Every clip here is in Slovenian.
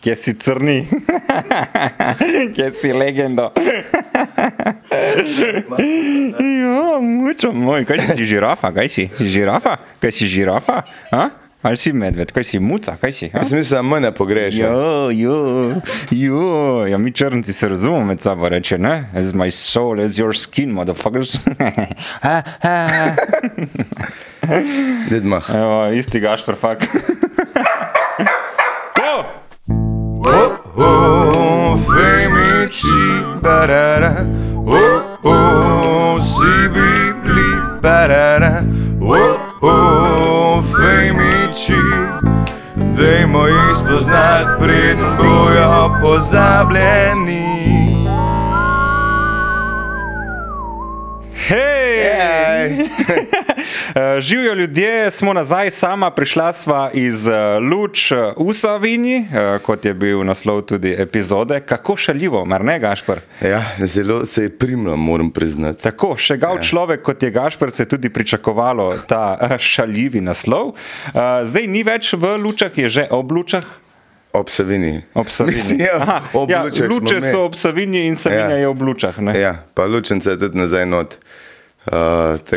Kje si crni, kje si legendo. ja, mučo moj, kaj si žirafa, kaj si žirafa, kaj si žirafa, a? ali si medved, kaj si muca, kaj si. a? Jaz mislim, da mene pogrešam. Jo, jo, jo, ja, mi črnci se razumemo med sabo, reče, ne? As my soul, as your skin, motherfuckers. Ha, ha. Dedmah. Evo, isti gašpr, fuck. To! Oh, oh, femiči, barara. Oh, oh, si bi bili, barara. Oh, oh, femiči. Dajmo jih spoznati, preden bojo pozabljeni. Hej! Eh, Živijo ljudje, smo nazaj, sama prišla sva iz eh, Luč eh, v Savinji, eh, kot je bil naslov tudi epizode. Kako šaljivo, mar ne, Gašpr? Ja, zelo se je primla, moram priznati. Tako, še gav ja. človek kot je Gašpr, se je tudi pričakovalo ta eh, šaljivi naslov. Eh, Zdaj ni več v Lučah, je že ob Lučah. Ob Savini. Ob Savinji. Mislim, ja, Aha, ob ja, Lučah smo Luče imeli. so ob Savinji in Savinja Ja. ja. je ob Lučah. Ja. Ja, pa lučenca je tudi nazaj not. Uh,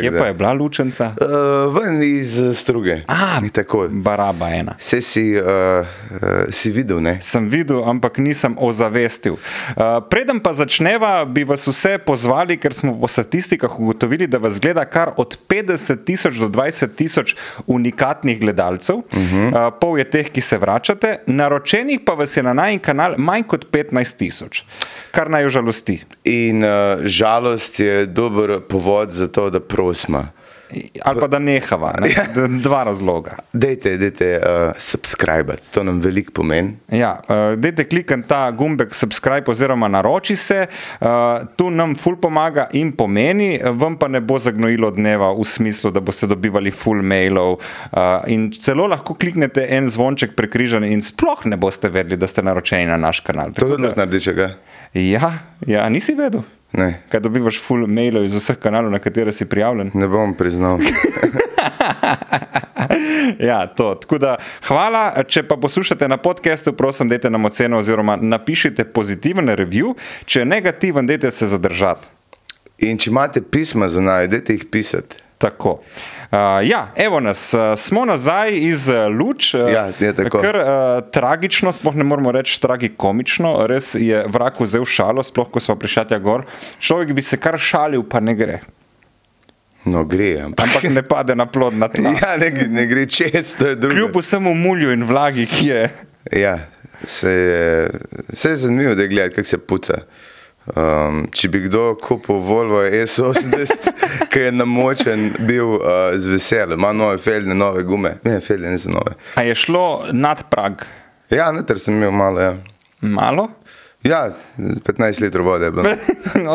Kje pa je bila Lučenca? Uh, ven iz eh, struge. A, Ni tako. Baraba ena. Vse si, uh, uh, si videl, ne? sem videl, ampak nisem ozavestil. Uh, preden pa začneva, bi vas vse pozvali, ker smo po statistikah ugotovili, da vas gleda kar od 50 tisoč do 20 tisoč unikatnih gledalcev, uh -huh. uh, pol je teh, ki se vračate, naročenih pa vas je na najn kanal manj kot 15 tisoč, kar naj jo žalosti. In uh, žalost je dober povod za to, da prosma. Ali pa da nehava, ne? D- dva razloga. Dajte, dajte, uh, subscribe, to nam veliko pomeni. Ja, uh, dajte klikati ta gumbek subscribe oziroma naroči se, uh, tu nam ful pomaga in pomeni, vam pa ne bo zagnojilo dneva v smislu, da boste dobivali full mailov uh, in celo lahko kliknete en zvonček prekrižan in sploh ne boste vedeli, da ste naročeni na naš kanal. To Tako tudi lahko narediš, ga? Ja, ja, nisi vedel. Ne. Kaj dobivaš full mailov iz vseh kanalov, na katere si prijavljen? Ne bom priznal. ja, to. Tako da, hvala. Če pa poslušate na podkastu, prosim, dajte nam oceno oziroma napišite pozitiven review. Če je negativen, dajte se zadržati. In če imate pisma za naj, dajte jih pisati. Tako. Uh, ja, evo nas, uh, smo nazaj iz uh, Luč. Uh, Ja, je tako. Kar uh, tragično, sploh ne moremo reči tragikomično, res je vrak vzel šalo, sploh ko smo prišli tja gor. Človek bi se kar šalil, pa ne gre. No, gre, ampak. Ampak ne pade na plodna tla. Ja. Ja, ne, gre- ne gre čez, to je drugo. Kljub vsemu mulju in vlagi, ki je. Ja, se je, se je zanimivo, da je gledati, kako se puca. Um, če bi kdo kupil Volvo S80, ki je namočen, bil uh, z veseljem, ima nove feldne, nove gume, ne, feldne niso nove. A je šlo nad prag? Ja, noter sem imel malo, ja. Malo? Ja, 15 litrov vode je bilo.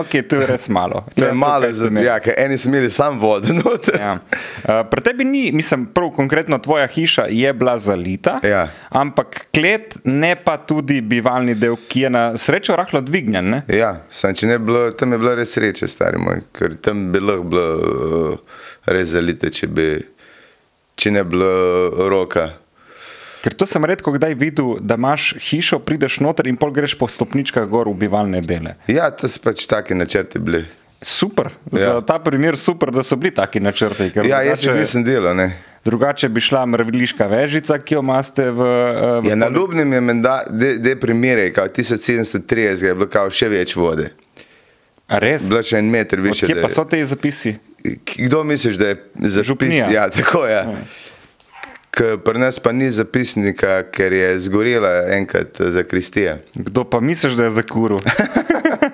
ok, to je res malo. To je malo, kaj ste za, imeli. ja, ker eni smo imeli sam vodo. noter. Ja. Uh, pri tebi ni, mislim, prav konkretno tvoja hiša je bila zalita, Ja. ampak klet, ne pa tudi bivalni del, ki je na srečo rahlo dvignjen. Ne? Ja, sam, če ne bi bilo, tam je bilo res sreče, stari moj, ker tam bi lahko bilo uh, res zalite, če, bi, če ne bi bilo roka. Ker to sem redko kdaj videl, da imaš hišo, prideš noter in pol greš po stopničkah gor v bivalne dele. Ja, to so pač taki načrti bili. Super, ja. Ja. za ta primer super, da so bili taki načrti. ker Ja, jaz jih drugače- nisem delal. Ne. Drugače bi šla mrviliška vežica, ki jo imate v. eh, v Ja, na Ljubnem je menda, de, de primere, kao 1730 je bilo kao še več vode. A Res. Bilo še en meter više. Kje pa da je- so te zapisi? K- Kdo misliš, da je zapisnik? Župnija. Ja, tako je. Ja. K- Pri nas pa ni zapisnika, ker je zgorela enkrat za Kristija. Kdo pa misliš, da je za kuru?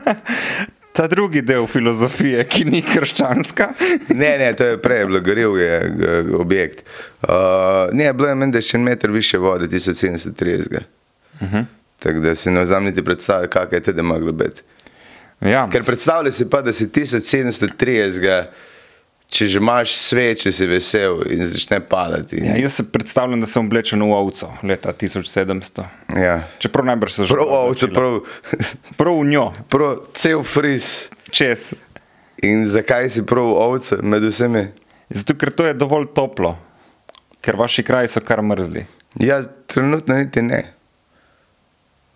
Ta drugi del filozofije, ki ni krščanska. Ne, ne, to je prej, bilo gorel je g- objekt. Uh, ne, bilo je menda še en meter više vode, 1730. Uh Mhm. -huh. Tako da si ne vzam niti predstavljati, kaj je tede moglo biti. Ja. Ker predstavljaj si pa, da si 1730, če že imaš sveče, si vesel in začne padati. Ja, jaz se predstavljam, da sem oblečen v ovco leta 1700. Ja. Čeprav najbrž se že. Prav, ovce, prav, Prav v njo, prav, cel fris. čez. In zakaj si prav ovce med vsemi? Zato, ker to je dovolj toplo, ker vaši kraji so kar mrzli. Ja, trenutno niti ne.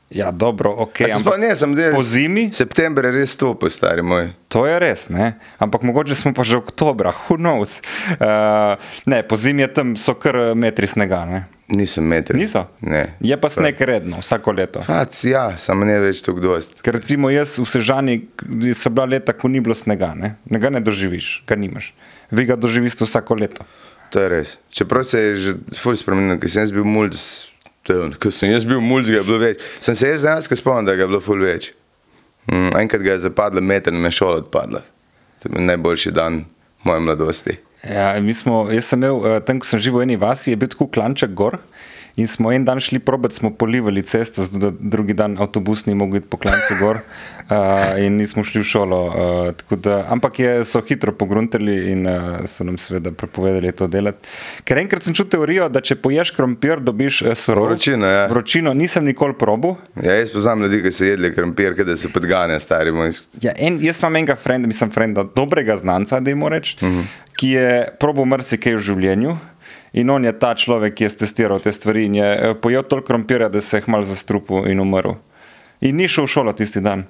Ja, dobro, ok. Ja, ampak Sploh ne, sem delal. Po zimi, September je res topil, stari moj. to je res, ne? ampak mogoče smo pa že oktobra, who knows. Uh, ne, po zimi je tam so kar metri snega. Ne? Nisem meter. Niso? Ja. Ne. Je pa sneg redno, vsako leto. Pač, ja, samo ne več tako dost. Ker recimo jaz v Sežani k- so bila leta, ko ni bilo snega, ne, ne ga ne doživiš, ga nimaš. Vi ga doživiš vsako leto. To je res. Čeprav se je že ful spremenil, ker sem jaz bil mulj, ker sem jaz bil mulj, ga je bilo več. Sem se jaz danes spomnil, da ga je bilo ful več. Mm, enkrat ga je zapadla meter in me šola odpadla. To je bil najboljši dan moje mladosti. Ja, mi smo, jaz sem imel, eh, tam ko sem živel v eni vasi, je bil tako klanček gor. In smo en dan šli probat, smo polivali cesto, zato da drugi dan avtobus ni mogel iti po klancu gor uh, in nismo šli v šolo. Uh, tako da, ampak je, so hitro pogruntali in uh, so nam seveda prepovedali to delati. Ker enkrat sem čutil teorijo, da če poješ krompir, dobiš eh, surov. Vročino, ja. Vročino nisem nikoli probu. Ja, jaz poznam ljudi, ki so jedli krompir, ki se podganja, stari moj. Ja, en, jaz imam enega frenda, mislim, frenda, dobrega znanca, da jim rečem, Mhm. uh -huh. ki je probo marsikaj v življenju. In on je ta človek, ki je testiral te stvari in je eh, pojel toliko krompirja, da se je mal zastrupil in umrl. In ni šel v šolo tisti dan,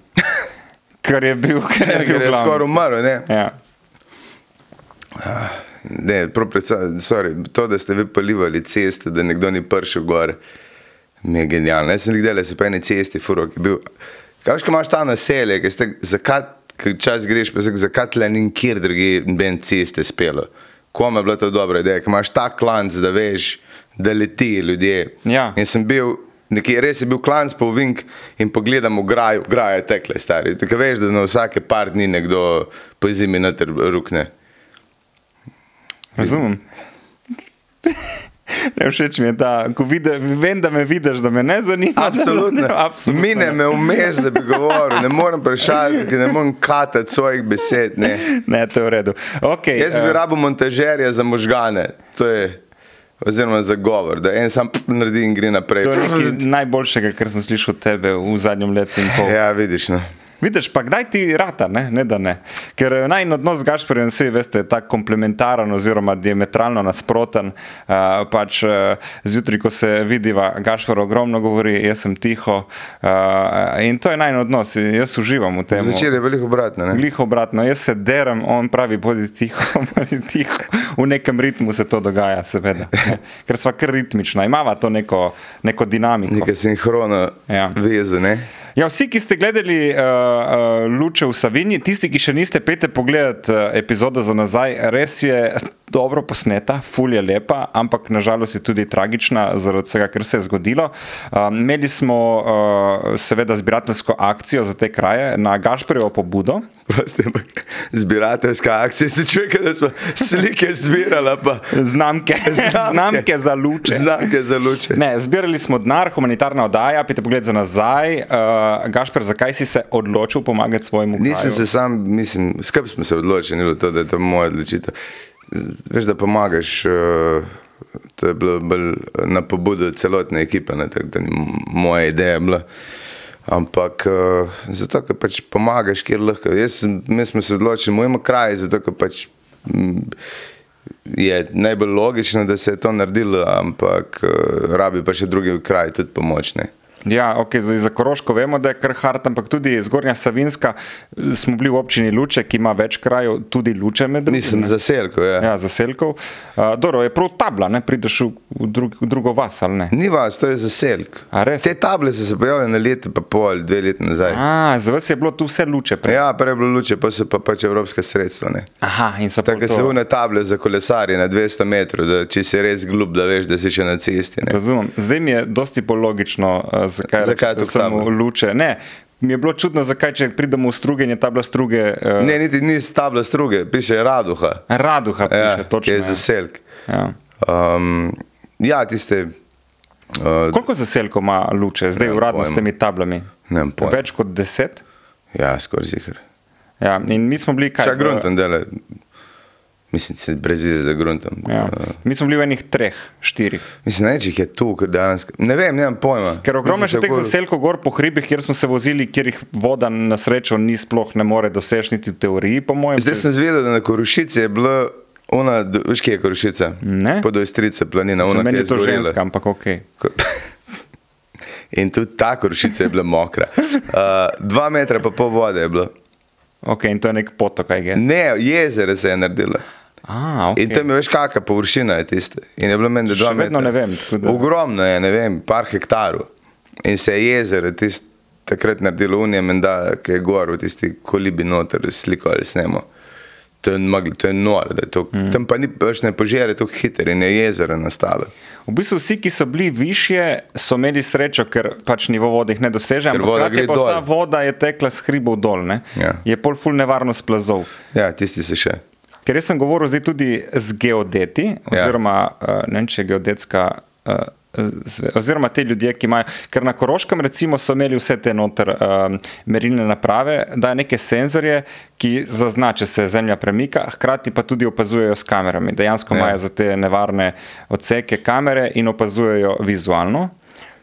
kar je bil, kar Ja, je bil Ker je glavni. skoraj um- umrl, ne? Ja. Ne, prav predsa- sorry, to, da ste vi polivali ceste, da nekdo ni prišel gor, mi je genialno. Jaz sem nekdaj le se po eni cesti, furo, ki je bil. Kaj imaš ta naselje, ki ste zakat, čas greš, pa se zakat le nikjer drugi ben ceste spelo. Kom je bila to dobra ideja, ki imaš ta klanc, da veš, da leti ljudje. Ja. In sem bil, nekje, res je bil klanc po Vink in pogledam v graju, graje tekle stari. Tako veš, da na vsake par dni nekdo po zimi noter rukne. Razumem. Ne, všeč mi je ta, ko vide, vem, da me vidiš, da me ne zanima. da- Absolutno. Absolutno. Mine me vmes, da bi govoril, ne morem vprašati, ne morem katati svojih besed. Ne. Ne, to je v redu. Okay, Jaz bi rabo montažerja za možgane, to je, oziroma za govor, da en sam pf, naredi in gre naprej. To je nekaj najboljšega, kar sem slišal od tebe v zadnjem letu in pol. Ja. Ja, vidiš. No. Vidiš, pa kdaj ti rata, ne, ne da ne. Ker eh, najin odnos z Gašporjem se je tako komplementaren oziroma diametralno nasproten. Uh, pač, uh, zjutraj, ko se vidiva, Gašpor ogromno govori, jaz sem tiho uh, in to je najin odnos. in Jaz uživam v tem. Zvečer je veliko obratno. Ne? Glih obratno, jaz se derem, on pravi, bodi tiho, bodi tiho. V nekem ritmu se to dogaja, seveda. Ker sva kar ritmična, imava to neko, neko dinamiko. Neka sinhrona Ja. ja. veza. Ne? Ja, vsi, ki ste gledali uh, uh, Luče v Savinji, tisti, ki še niste, pete pogledati uh, epizodo za nazaj, res je dobro posneta, ful je lepa, ampak nažalost je tudi tragična zaradi vsega, kar se je zgodilo. Um, imeli smo uh, seveda zbirateljsko akcijo za te kraje na Gašporjevo pobudo. Prosti, ampak zbirateljska akcija se čuje, kot da smo slike zbirala, pa Znamke, znamke. znamke za luče. znake za luče. Ne, zbirali smo denar, humanitarna oddaja, pite pogled za nazaj. Uh, Gašper, zakaj si se odločil pomagati svojemu kraju? Nisem se sam, mislim, skrb smo se odločili, ni bilo to, da je to moja odločitev. Veš, da pomagaš, eh, to je bilo bolj na pobudo celotne ekipe, ne, tako da ni moja ideja bila. Ampak eh, zato, ker pač pomagaš, kjer lahko. Jaz, sem- mi smo se odločili, mojemu kraju, zato, ker pač mm, je najbolj logično, da se je to naredilo, ampak eh, rabi pa še drugi kraj tudi pomočne. Ja, okay, zdaj, za Koroško vemo, da je kar hart, ampak tudi Zgornja Savinska eh, smo bili v občini Luče, ki ima več krajev, tudi Luče med drugim. Mislim, ne. za selko, ja. Ja, zaselkov. Uh, Dobro, je prav tabla, ne prideš v, v, drug, v drugo vas ali ne. Ni vas, to je zaselk. A res? Te table so se pojavile na leto, pa pol, dve leti nazaj. A, za vas je bilo tu vse luče. Prej. Ja, prej je bilo luče, pa so pa pač evropske sredstva. Ne. Aha, in so Tako pol da to- se une table za kolesarje na 200 metrov, da če si res glub, da veš, da si še na cesti. Ne. Razumem. Zdaj mi je dosti bolj logično, eh, zakaj, Zakaj rečete tu samo tabla? luče. Ne, mi je bilo čudno, zakaj, če pridemo v struge in je tabla struge. Uh, Ne, niti ni tabla struge, piše Raduha. Raduha, Ja, piše, točno. je Ja. zaselk. Ja. Um, ja, tiste. Uh, Koliko zaselkov ima luče, zdaj Nemam uradno s pojma. temi tablami? Nemam pojma. Več kot deset. ja, skoraj zihar. Ja, in mi smo bili kaj? v- Čak gruntom dela. Mislim, se brez vize za gruntom. Ja. Uh, Mi smo bili v enih treh, štirih. Mislim, ne, če jih je tu, ker danes. Ne vem, nemam pojma. Ker ogromno je še Mislim, teh tako- zaselkov gor po hribih, kjer smo se vozili, kjer jih voda na srečo ni sploh ne more doseči, niti v teoriji, po mojem. Zdaj sem zvedel, da na Korušici je bila ona, do- veš, kje je Korušica? Ne. Pod Ojstrice planina, Za ona, ki meni je je to zgorela. ženska, ampak ok. Ko- In tudi ta koršica je bila mokra. Uh, dva metra pa pol vode je bilo. Ok, in to je nek potok, kaj je. Ne, jezero se je naredilo. Ah, okay. In tam je veš, kakšna površina je tiste. In je bilo meni, da Še dva vedno metra. ne vem, tako da- Ogromno je, ne vem, par hektarov. In se je jezero tist, takrat naredilo unije, menda, ki je gor v tisti kolibi noter sliko ali snemo. To je, magli, to je noro, da je to, mm. tam pa ni več ne požire tako hitro in je jezero nastalo. V bistvu vsi, ki so bili više, so imeli srečo, ker pač nivo vode jih ne doseže, ampak voda hkrati gre pa dol. vsa voda je tekla s hribov dol, ne? Ja. je pol ful nevarnost plazov. Ja, tisti se še. Ker jaz sem govoril zdaj tudi z geodeti, Ja. oziroma ja. ne vem, če je geodetska. eh, zve- Oziroma, te ljudje, ki imajo, ker na Koroškem, recimo, so imeli vse te noter um, merilne naprave, da neke senzorje, ki zaznajo, če se zemlja premika, hkrati pa tudi opazujejo s kamerami. Dejansko Ja. imajo za te nevarne odseke kamere in opazujejo vizualno.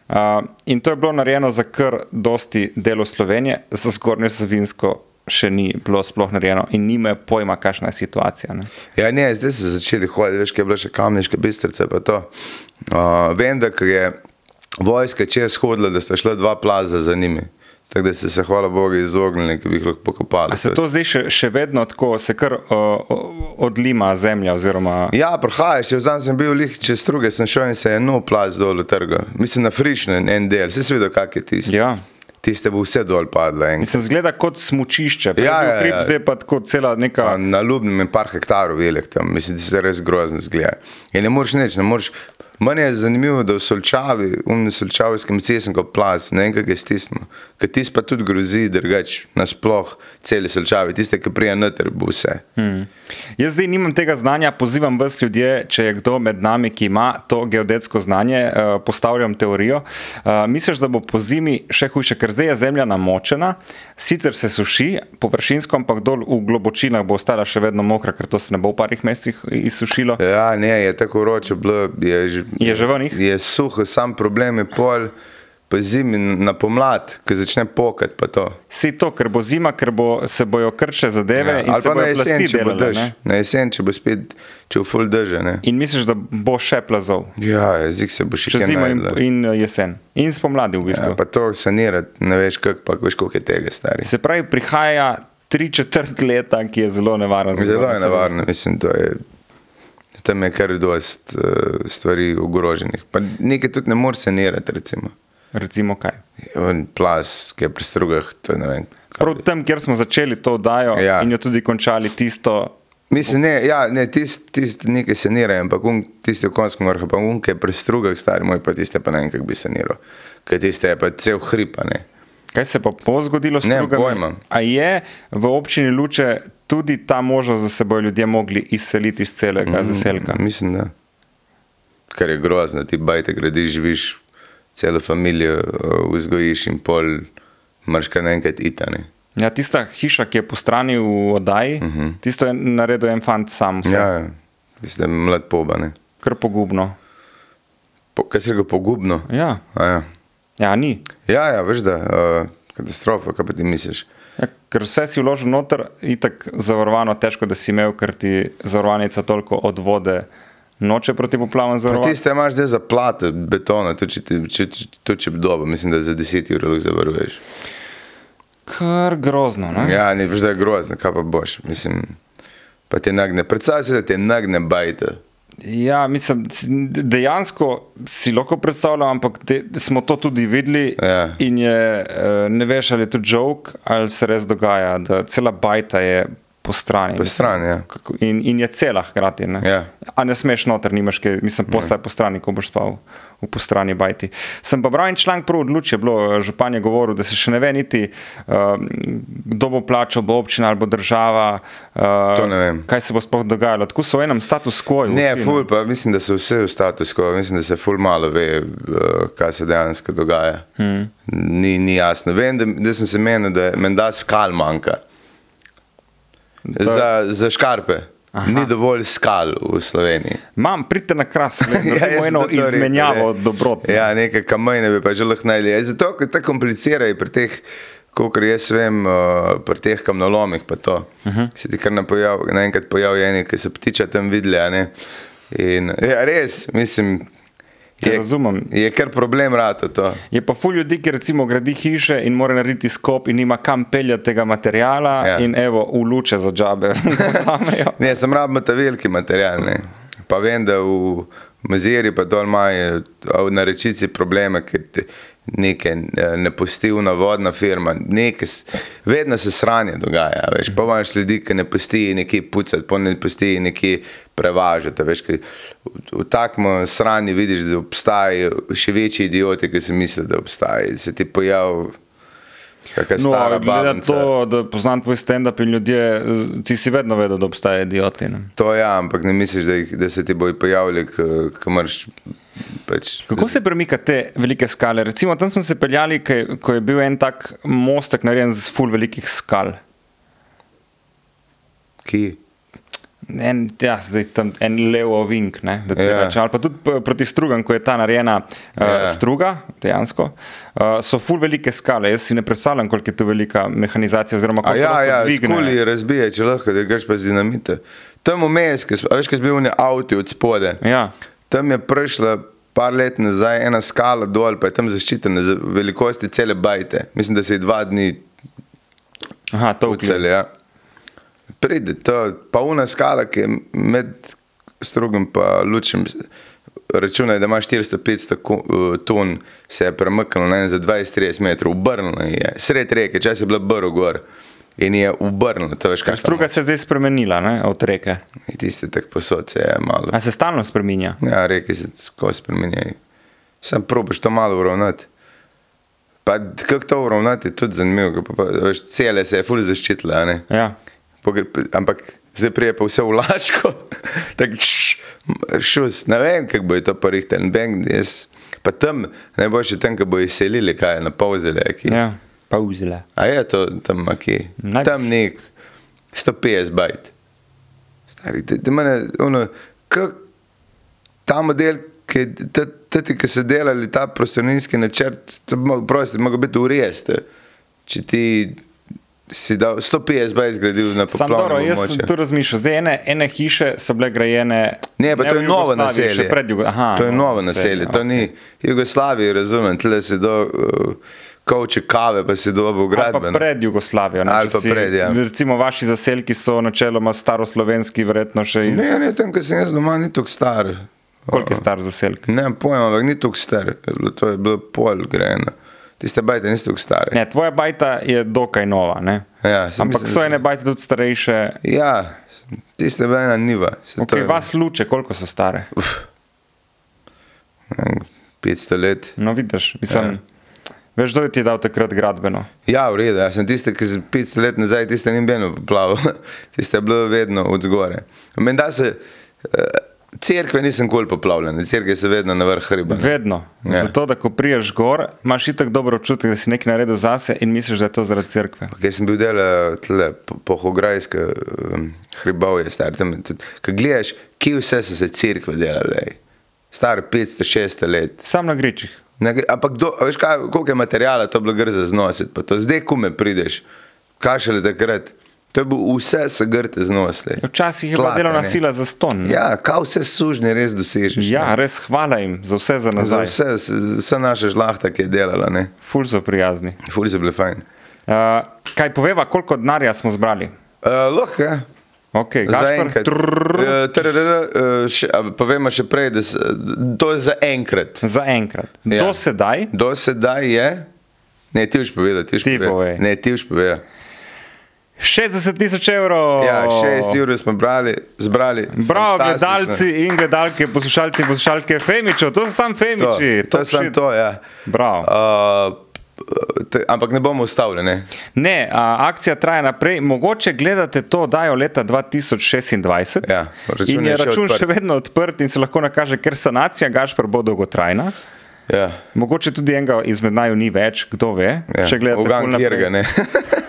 Uh, in to je bilo narejeno za kar dosti delo Slovenije, za zgornjo Savinsko še ni bilo sploh narejeno in nimajo pojma, kakšna je situacija. Ne? Ja, ne, zdaj so začeli hoditi, veš, kaj je bila še kamniška bistrica. pa to. Uh, vem, da ko je vojska čez hodila, da sta šla dva plaza za njimi. Tako da so se, hvala Bogu, izognili, ki bi jih lahko pokopali. A se to zdaj še, še vedno tako, se kar uh, odlima zemlja? Oziroma, Ja, prihajaš, jaz zdaj sem bil lih čez druge, sem šel in se je nov plaz dol trga. Mislim na frišnen en del, se svedel, kak je tisti. ja. Tiste bo vse dol padlo. En... Mislim, zgleda kot smočišče, Ja, ja, ja, ja, ja. ja. zdaj pa tako cela neka. Pa Na Ljubnem je par hektarov velik tam, mislim, da se res grozno zgleda. In ne moreš nič, ne moreš. Meni je zanimivo, da v Solčavi, v Solčavskem cesenko plas, ne vem, kaj je stisnilo. Ker tisti pa tudi grozi, drugač nasploh celi Solčavi, tiste, ki prija noter, bo vse. Hmm. Jaz zdaj nimam tega znanja, pozivam vas, ljudje, če je kdo med nami, ki ima to geodetsko znanje, eh, postavljam teorijo. Eh, Misliš, da bo po zimi še hujše, ker zdaj je zemlja namočena, sicer se suši, površinsko, ampak dol v globočinah bo ostala še vedno mokra, ker to se ne bo v parih mesecih izsušilo. Ja, ne, je tako vroče bilo. Je, že- Je že ven jih? Je suho, sam problem je pol, pa zimi na pomlad, ki začne pokati. pa to. Si to, ker bo zima, ker bo, se bojo krče zadeve ja, in Ali se pa na bojo jesen, plasti če bo delale. dež. ne? Na jesen, če bo spet, če bo full dež. ne. In misliš, da bo še plazov, Ja, jezik se bo še še kaj zima in, najdla. in eh, jesen, in spomladi v bistvu. Ja, pa to sanirati, ne veš, kako pa veš, koliko je tega stari. Se pravi, prihaja tri četrt leta, ki je zelo nevarno. za Zelo je Zgornjo nevarno, mislim, to je. Tam je kar dost uh, stvari ogroženih. Pa nekaj tudi ne moreš sanirati, recimo. Savinsko. Recimo kaj. On Plas, ki je pri strugah, to je ne vem. kaj Prav tam, kjer smo začeli to oddajo ja. Ja. in jo tudi končali, tisto, Mislim, ne, ja, ne tisti tist, nekaj sanirajo, ampak un, tisti v konskem vrhu, pa unke pri strugah, stari moj, pa tiste pa ne vem, kako bi saniral. Ker tiste je pa cel hrib, a ne. kaj se pa po zgodilo s Ne, drugim. pojma. A je v občini Luče tudi ta možnost, da se bodo ljudje mogli izseliti iz celega mm. zaselka? Ja, Mislim, da. Kar je grozno, ti bajte gradiš, živiš, celo familijo eh, vzgojiš in pol, marš kar naenkrat itane. Ja, tista hiša, ki je po strani v oddaji, mm -hmm. tisto je naredil en fant sam, vse, ja. Mhm. Ja, ja. tiste mlad pobane. kar pogubno. Po, kaj se ga pogubno? Ja, A Ja, ja ni. ja, ja veš da, uh, katastrofa, kaj pa ti misliš? Ja, ker vse si vložil noter, itak zavarovano, težko da si imel, ker ti zavarovalnica toliko od vode noče proti poplavam Pa zavarovati. tiste imaš zdaj za plate, betona, tudi če, ti- če, če, tudi če bi dobil, mislim, da za 10 ur lahko zavaruješ. Kar grozno. Ne? Ja, ne veš, da je grozno, kaj pa boš, mislim. Pa te nagne, predstavljaj si, da te nagne bajte. Ja, mislim, s- dejansko si lahko predstavljam, ampak te, smo to tudi videli. Ja. In je, eh, ne veš, ali je to žog ali se res dogaja, da cela bajta je po strani. Po strani, ja. Kako- In, in je cela hkrati. Ne? Ja. A ne smeš noter, nimaš kaj, mislim, postaj po strani, ko boš spal v po strani bajti. Sem pa bral en članek, prav odluč je bilo, eh, župan je govoril, da se še ne ve niti, uh, kdo bo plačal, bo občina ali bo država. Uh, To ne vem. Kaj se bo sploh dogajalo? Tako so v enem status quo. Ne, vsi, ful, pa mislim, da so vse v status quo, mislim, da se ful malo ve, eh, kaj se dejansko dogaja. Hmm. Ni, ni jasno. Vem, da, da sem se menil, da je menda skal manjka. Za, za škarpe. Aha. Ni dovolj skal v Sloveniji. Imam, pridite na kras, da Ja, imamo jaz sem Ja, eno to rekel, izmenjavo ne. dobrot. Ja, nekaj kamajne bi pa že lahko najdel. Ja, Zato, ker te komplicirajo pri teh, kolikor jaz vem, eh, pri teh kamnolomih. pa to. Mhm. Se ti kar napojav, naenkrat pojavi eni, ki so ptiča tam videli. a ne. In, ja, res, mislim. Te razumem. Je kar problem rata to. Je pa ful ljudi, ki recimo gradi hiše in mora narediti skop in nima kam peljati tega materijala ja. Ja. in evo, v luče za džabe. posamejo. Ne, sem rabim ta veliki material. Ne. Pa vem, da v Maziri pa dol imajo a na rečici probleme, ker ti neke eh, nepustivna vodna firma, neke, s- vedno se sranje dogaja, a veš, pa imaš ljudi, ki ne pusti nekje pucati, pa ne pusti nekje prevažati, a veš, ker v, v takem sranju vidiš, da obstajajo še večji idioti, ki si mislijo, da obstajajo, se ti pojavi kakšna No, stara ali glede na babica. to, da poznam tvoj stand-up in ljudje, z- ti si vedno vedel, da obstaja idioti. Ne? To ja, ampak ne misliš, da, jih, da se ti bojo pojavili, ko imaš. Pač, Kako se premika te velike skale? Recimo tam smo se peljali, ko je, ko je bil en tak mostek narejen z full velikih skal. ki? En, ja, zdaj tam en levo vink, ne, da ti Ja. rečem. Ali pa tudi p- proti strugam, ko je ta narejena uh, Ja. struga, dejansko, uh, so full velike skale. Jaz si ne predstavljam, koliko je tu velika mehanizacija. Oziroma, A koliko ja, lahko ja, dvigne. skoli razbije, če lahko, da greš pa z dinamita. Tam vmes, ke smo- a veš, kaj smo bili v avtu od spode. Ja. Tam je prišla par let nazaj ena skala dol, pa je tam zaščitena za velikosti cele bajte. Mislim, da se je dva dni Aha, to vključuje. ucele. Ja. Pride to, pa una skala, ki je med strugom in lučem. Računaj, da imaš 400-500 ko- eh, ton, se je premaknil ne, vem, za 20-30 metrov, obrnil je, sred reke, čas je bila brl gor in je obrnil, to veš, kaj Struga se je zdaj spremenila ne, od reke. je. Tiste tak posod se je malo. A se stalno spremenja. Ja, reke se skozi spremenjajo. Sam probiš to malo uravnati. Pa kako to uravnati, je tudi zanimivo, ker pa, pa, veš, cele se je ful zaščitila, a ne. Ja. Pogre- p- Ampak zdaj prije pa vse v lačko, tako šš, šus, ne vem, kako bo to porihten bank, jaz. Pa tam, najboljše tam, ko bo izselili, kaj je na polzele, ki. Ja. Pa vzile. A je to tam, ki. Najbrž. Tam nek 150 bajt. Stari, da, da mene, ono, kak, ta model, ki, ta, ta ti, ki so delali ta prostorninski načrt, to bi mogel- prosti, mogo biti urest. Če ti si dal 150 bajt zgradil na Sam dobro, poplavnem jaz sem tu območju. razmišljal. Zdaj, ene, ene hiše so bile grajene. Ne, pa to v je novo Jugoslaviji, naselje. Še pred Jugoslavijom. Aha, no, to je novo naselje, naselje, to ni Jugoslavija, razumem, tle se do uh, kovče kave, pa si Ali dobil pa gradben. pred Jugoslavijo. ne, Ali če pa pred, ja. Recimo vaši zaselki so načeloma staroslovenski, verjetno še iz. Ne, ne, tam, ko sem jaz doma, ni tako star. Koliko je star zaselek? Ne, pojem, ampak ni tako star, je bilo- to je bilo pol grejeno. Tiste bajte niso tako stare. Ne, tvoja bajta je dokaj nova. Ne? Ja, saj Ampak mislim, so da- ene bajte tudi starejše. Ja, tiste je bila ena niva. Se to Okay, je- vas luče, koliko so stare? ne vem, 500 let. No, vidiš, mislim, ja. veš, kdo je ti dal takrat gradbeno. Ja, v redu, jaz sem tiste, ki sem 500 let nazaj, tiste ni beno poplavil, tiste je bilo vedno od zgore. Menda se, eh, cerkve nisem kol poplavljene, cerkve so vedno na vrh hriba. ne. Vedno. Ja. Ja. Zato, da ko priješ gor, imaš itak dobro občutek, da si nekaj naredil zase in misliš, da je to zaradi cerkve. Kaj sem bil del eh, tle, po- pohograjske um, hribovje, star tam. je tudi- Ko gledaš, kje vse so se cerkve delale, star 500-600 let. Sam na gričih. Ne, gre- ampak do, a veš, kaj, koliko je materijala to bilo grza znositi, pa to zdaj kume prideš, kašele takrat. To je bilo vse se grte znosili. Včasih je bila Tlaka, delovna ne. sila za ston. Ja, Ja, kaj vse sužnje res dosežeš. ja, res hvala jim za vse za ne. za nazaj. vse, s- vsa naša žlahta, ki je delala, ne. Ful so prijazni. Fuli so bili fajn. Uh, kaj poveva, koliko denarja smo zbrali? Uh, lahko je. Okay, Za Gašper, enkrat. trrr, Eh, trrr, eh, še- a Povemo še prej, da s- to je za enkrat. za enkrat. Ja. Ja. Do sedaj Do sedaj je. Ne, ti už povedal, ti už Ti povej. povedal. Ne, ti už povedal. 60 tisoč evrov. Ja, 6 ur smo brali, zbrali. Bravo, Fantastično. gledalci in gledalke, poslušalci in poslušalke Femičo, to so sam To, Femiči. to je top samo shit. to, ja. Bravo. Uh, te, ampak ne bomo ustavljeni. Ne, a, akcija traja naprej. Mogoče gledate to, da je leta 2026. Ja, račun in je je še račun še, odprt. še vedno odprt in se lahko nakaže, ker sanacija Gašpr bo dolgotrajna. Ja. Mogoče tudi enega izmed naju ni več, kdo ve. Ja. Če gledate Ugan ful naprej. Kjerga, ne.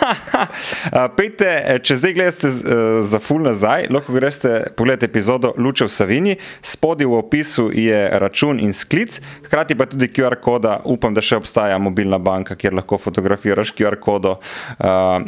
Uh, Pejte, če zdaj gledate z- eh, za full nazaj, lahko greste pogledati epizodo Luče v Savini, spodaj v opisu je račun in sklic, hkrati pa tudi QR koda, upam, da še obstaja mobilna banka, kjer lahko fotografiraš QR kodo uh,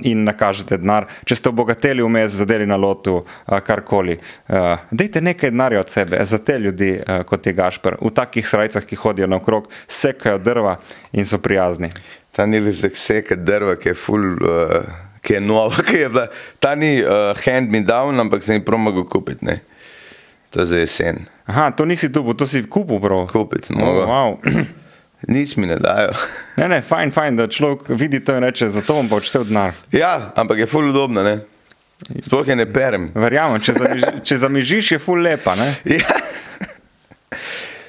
in nakažete denar. Če ste obogateli vmes, zadeli na lotu, uh, karkoli, uh, dejte nekaj denarja od sebe za te ljudi, uh, kot je Gašpr, v takih srajcah, ki hodijo naokrog, sekajo drva in so prijazni. Ta ni rezek seka drva, ki je full. Uh, Ki je nova, ki je bila, ta ni uh, hand me down, ampak sem jih promagal kupiti, ne. To je za jesen. Aha, to nisi tu, to si kupil prav. Kupiti sem Oh, mogel. wow. Nič mi ne dajo. Ne, ne, fajn, fajn, da človek vidi to in reče, zato bom pa odštel denar. Ja, ampak je full udobno, ne. Sploh je ne perem. Verjamem, če, zamiži, če zamižiš, je ful lepa. Ne? Ja.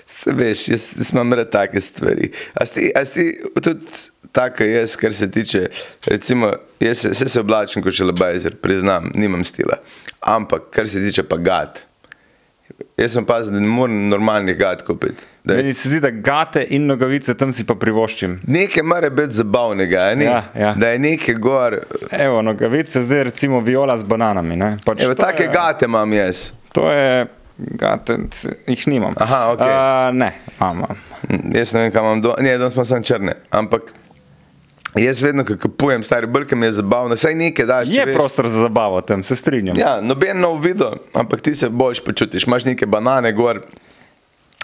Se veš, jaz, jaz imam rad take stvari. A si, a si tudi tako jaz, kar se tiče, recimo, jaz se, se, se oblačim kot šelebajzer, priznam, nimam stila. Ampak kar se tiče pa gad, jaz sem pazil, da ne morem normalnih gad kupiti. Da je- Meni se zdi, da gate in nogavice tam si pa privoščim. Nekaj mora biti zabavnega, a ne? Ja, ja. da je nekaj gor. Evo, nogavice zdaj recimo viola z bananami. ne. Pač Evo, to take je- gate imam jaz. To je, gate, c- jih nimam. Aha, ok. Uh, ne, imam. Mm, Jaz ne vem, kam imam dol, ne, danes smo samo črne. Ampak jaz vedno, ko kupujem stare brke, mi je zabavno, saj nekaj daš. če Je veš. prostor za zabavo, tam se strinjam. Ja, noben nov video, ampak ti se boš počutiš. Imaš neke banane gor,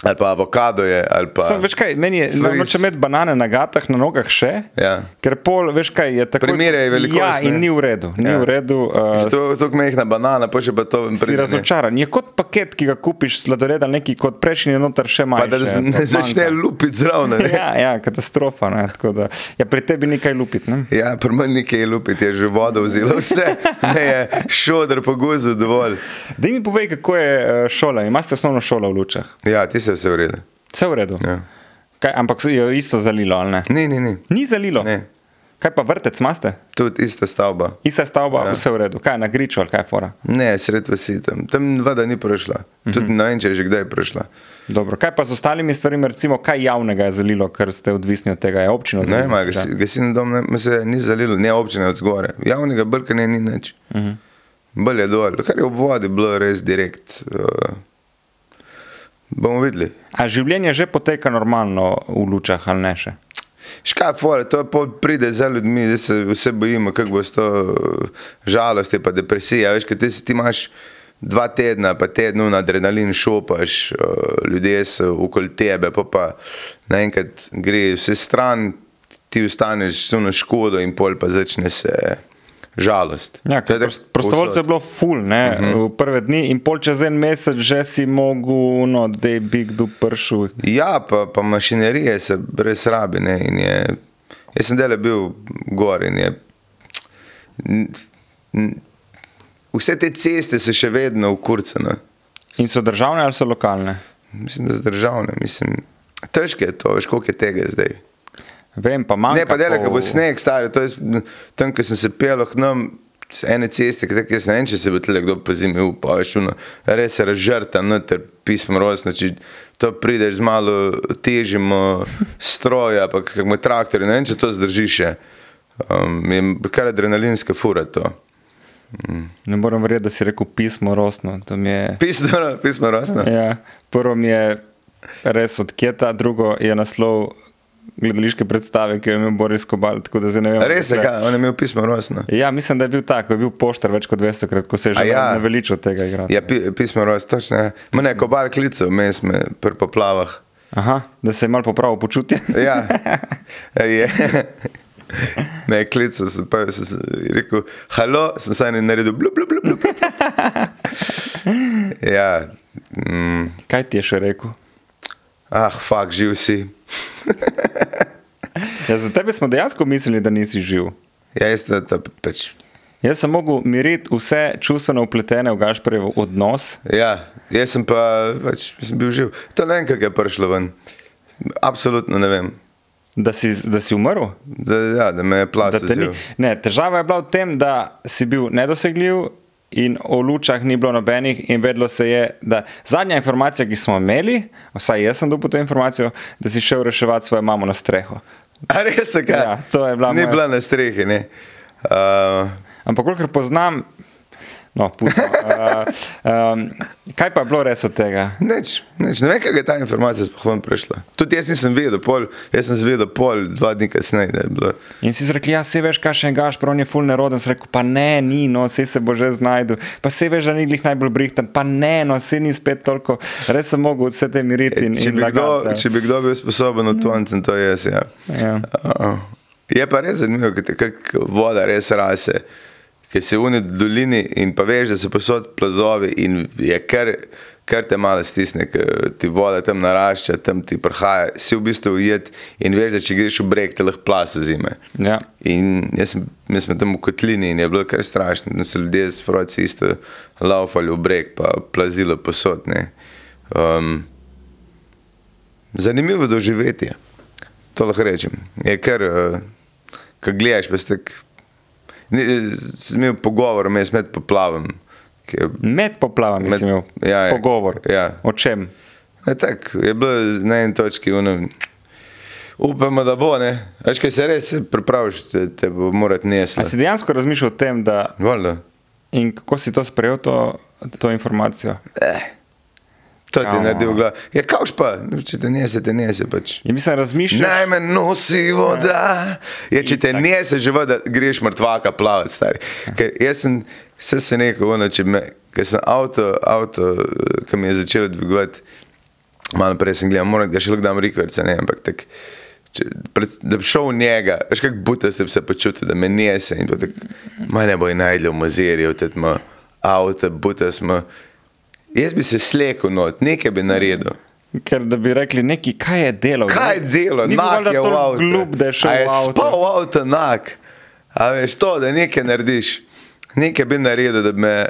ali pa avokado je, ali pa. Sam, veš kaj, meni je, Stvari ne s- moreš imeti banane na gatah, na nogah še, Ja. ker pol, veš kaj, je tako. Primerjaj velikost, Ja, in ne. ni v redu, ni Ja. v redu. Uh, To je tako mehna banana, pa še pa to si razočaran. Je kot paket, ki ga kupiš, sladoled ali neki kot prejšnji, je noter še Pa manj. da se ne začne lupiti zraven. ne. Ja, ja, katastrofa. Ne, tako da, ja, pri tebi nekaj lupit. Ne? Ja, pri meni nekaj je lupiti, je že voda vzela vse, ne je šodr po guzu dovolj. Da mi povej, kako je eh, šola. Imate osnovno šolo v Lučah? Ja, ti se vse uredi. Vse v redu. Ja. Kaj, ampak se jo je isto zalilo, ali ne? Ni, ni, ni. Ni zalilo. Ne. Kaj pa vrtec, imaš? Tudi ista stavba. Ista stavba, ja. vse v redu. Kaj na griču ali kaj je fora? Ne, sred vasi tam. Tam voda ni prišla. Tudi ne vem, če je že kdaj prišla. Dobro. Kaj pa z ostalimi stvarmi, recimo, kaj javnega je zalilo, ker ste odvisni od tega, je občina Ne, zalila. ima gasi- gasilni dom, ne, me se ni zalilo, ne občine od zgore. Javnega brkanja ni nič. Uh -huh. Bolje dol, kar je ob vodi bilo res direkt. Uh, bomo videli. A življenje že poteka normalno v Lučah ali ne še? Škaj, fore, to je pol pride za ljudmi, zdaj se vse bojimo, kako bo s to eh, žalostjo, pa depresija. Veš, kaj ti, si- ti imaš dva tedna, pa tedno na adrenalin šopaš, eh, ljudje so okoli tebe, pa pa naenkrat gre vse stran, ti ostaneš s ono škodo in pol pa začne se žalost. Ja, To je tako prostovoljce je bilo ful, ne, uh Mhm. -huh. prve dni in pol čez en mesec že si mogel, no, da je big du pršu. Ja, pa, pa mašinerije se brez rabi. Ne, in je, jaz sem delal bil gor in je. n- n- Vse te ceste so še vedno ukurcene. In so državne ali so lokalne? Mislim, da so državne. Mislim, težko je to, veš, koliko je tega zdaj. Vem, pa manj. Ne, pa dela, ko bo ja. sneg, stari, to je s- tam, ko sem se pel, nam ene ceste, ki tako jaz ne vem, če se bo tle kdo po zimi upal, veš, ono, no, res se razžrta, noter pismo rosno, če to prideš z malo težjim eh, stroja, pa kakmo traktor, ne vem, če to zdržiš še. Um, je kar adrenalinska fura to. Ne moram verjeti, da si rekel pismo rosno. to mi Je, Pismo, no, pismo rosno. ja, prvo mi je res odkjeta, drugo je naslov gledališke predstave, ki jo je imel Boris Kobal. tako da zdaj ne vem, Res je, zakaj. ga, on je imel pismo no. rosno. Ja, mislim, da je bil tako, je bil poštar več kot 200 krat, ko se je že A ja. ja. naveličal tega igrati. Ja, pi, pismo rosno, točno. ja. Ma ne, kobar klical, mes me pri poplavah. Aha, da se je mal popravil počutje. Ja, je. Ne, klical sem, pa sem se- rekel, halo, sem se ne naredil, blub, blub, blub. blub. Ja, mm, Kaj ti je še rekel? ah, fuk, živ si. Ja, za tebe smo dejansko mislili, da nisi živ. Ja, jaz to, to pač. Jaz sem mogel miriti vse čustveno upletene v Gašporjev odnos. Ja, jaz sem pa, pač, sem bil živ. To ne vem, kako je prišlo ven. Absolutno ne vem. Da si, da si umrl? Da, ja, da me Da je te ni. plastil. Ne, težava je bila v tem, da si bil nedosegljiv in o lučah ni bilo nobenih, in vedelo se je, da zadnja informacija, ki smo imeli, vsaj jaz sem dobil to informacijo, da si šel reševati svojo mamo na streho. A res je, kaj? Ja, to je bila Ni moja- bila na strehi, ne. Uh, Ampak kolikor poznam, no, pusto. Uh, um, kaj pa je bilo res od tega? Neč, neč. Ne vem, kaj je ta informacija spohvam prišla. Tudi jaz nisem vedel, pol, jaz sem zvedel pol, dva dni kasneje, da je bilo. In si rekel, ja, se veš, kaj še engaš, prav je fulne roden. Si rekel, pa ne, ni, no, se se bo že znašel, pa se veš, da ni glih najbolj brihten, pa ne, no, se ni spet toliko, res sem mogel vse te miriti. In, E, Če in bi, kdo, lagati. če bi kdo bil sposoben od toncem, to je jaz. Ja. Ja. Uh, je pa res zanimivo, kako voda res rase, ki se une dolini in pa veš, da so posod plazovi in je kar, kar te malo stisne, ker ti voda tam narašča, tam ti prihaja, si v bistvu ujet in veš, da če greš v breg, te lahko plaso zime. Ja. In jaz sem, mi smo tam v kotlini in je bilo kar strašno, da so ljudje z Froci isto laufali v breg, pa plazilo posodne. Um, zanimivo doživetje, to lahko rečem. Je kar, uh, ko gledaš, pa stek. Sem imel pogovor, me je smet poplavam. ki je- Med poplavami Med, Med- si imel ja, ja, ja. pogovor. Ja. O čem? Ne, tako, je bilo na eni točki, ono, upamo, da bo. ne. Veš, kaj se res pripraviš, te, te bo morati nesla. A si dejansko razmišljal o tem, da Valjda. in kako si to sprejel, to, to informacijo? To ti Ja. je naredil glav. Je kavš pa, No, če te nese, te nese pač. In Ja, mislim, razmišljal Najmanj nosi voda. Je, če te nese že voda, greš mrtvaka plavati, stari. Ker jaz sem, se se neko, ono, če me, ker sem avto, avto, eh, ki mi je začelo dvigovati, malo prej sem gledal, moram ga še lahko dam rikverce, ne, ampak tak. Če, pred, da bi šel v njega, veš kako buta se bi se počutil, da me nese in tako, maj ne bo in najdel mozirjev, te tmo, avto, buta smo. Jaz bi se slekel not, nekaj bi naredil. Ker da bi rekli, neki, kaj je delo. Kaj je delo, nak je v avtu. Glub, da je šel A v je spal avto. v avtu nak. A veš to, da nekaj narediš. Nekaj bi naredil, da bi me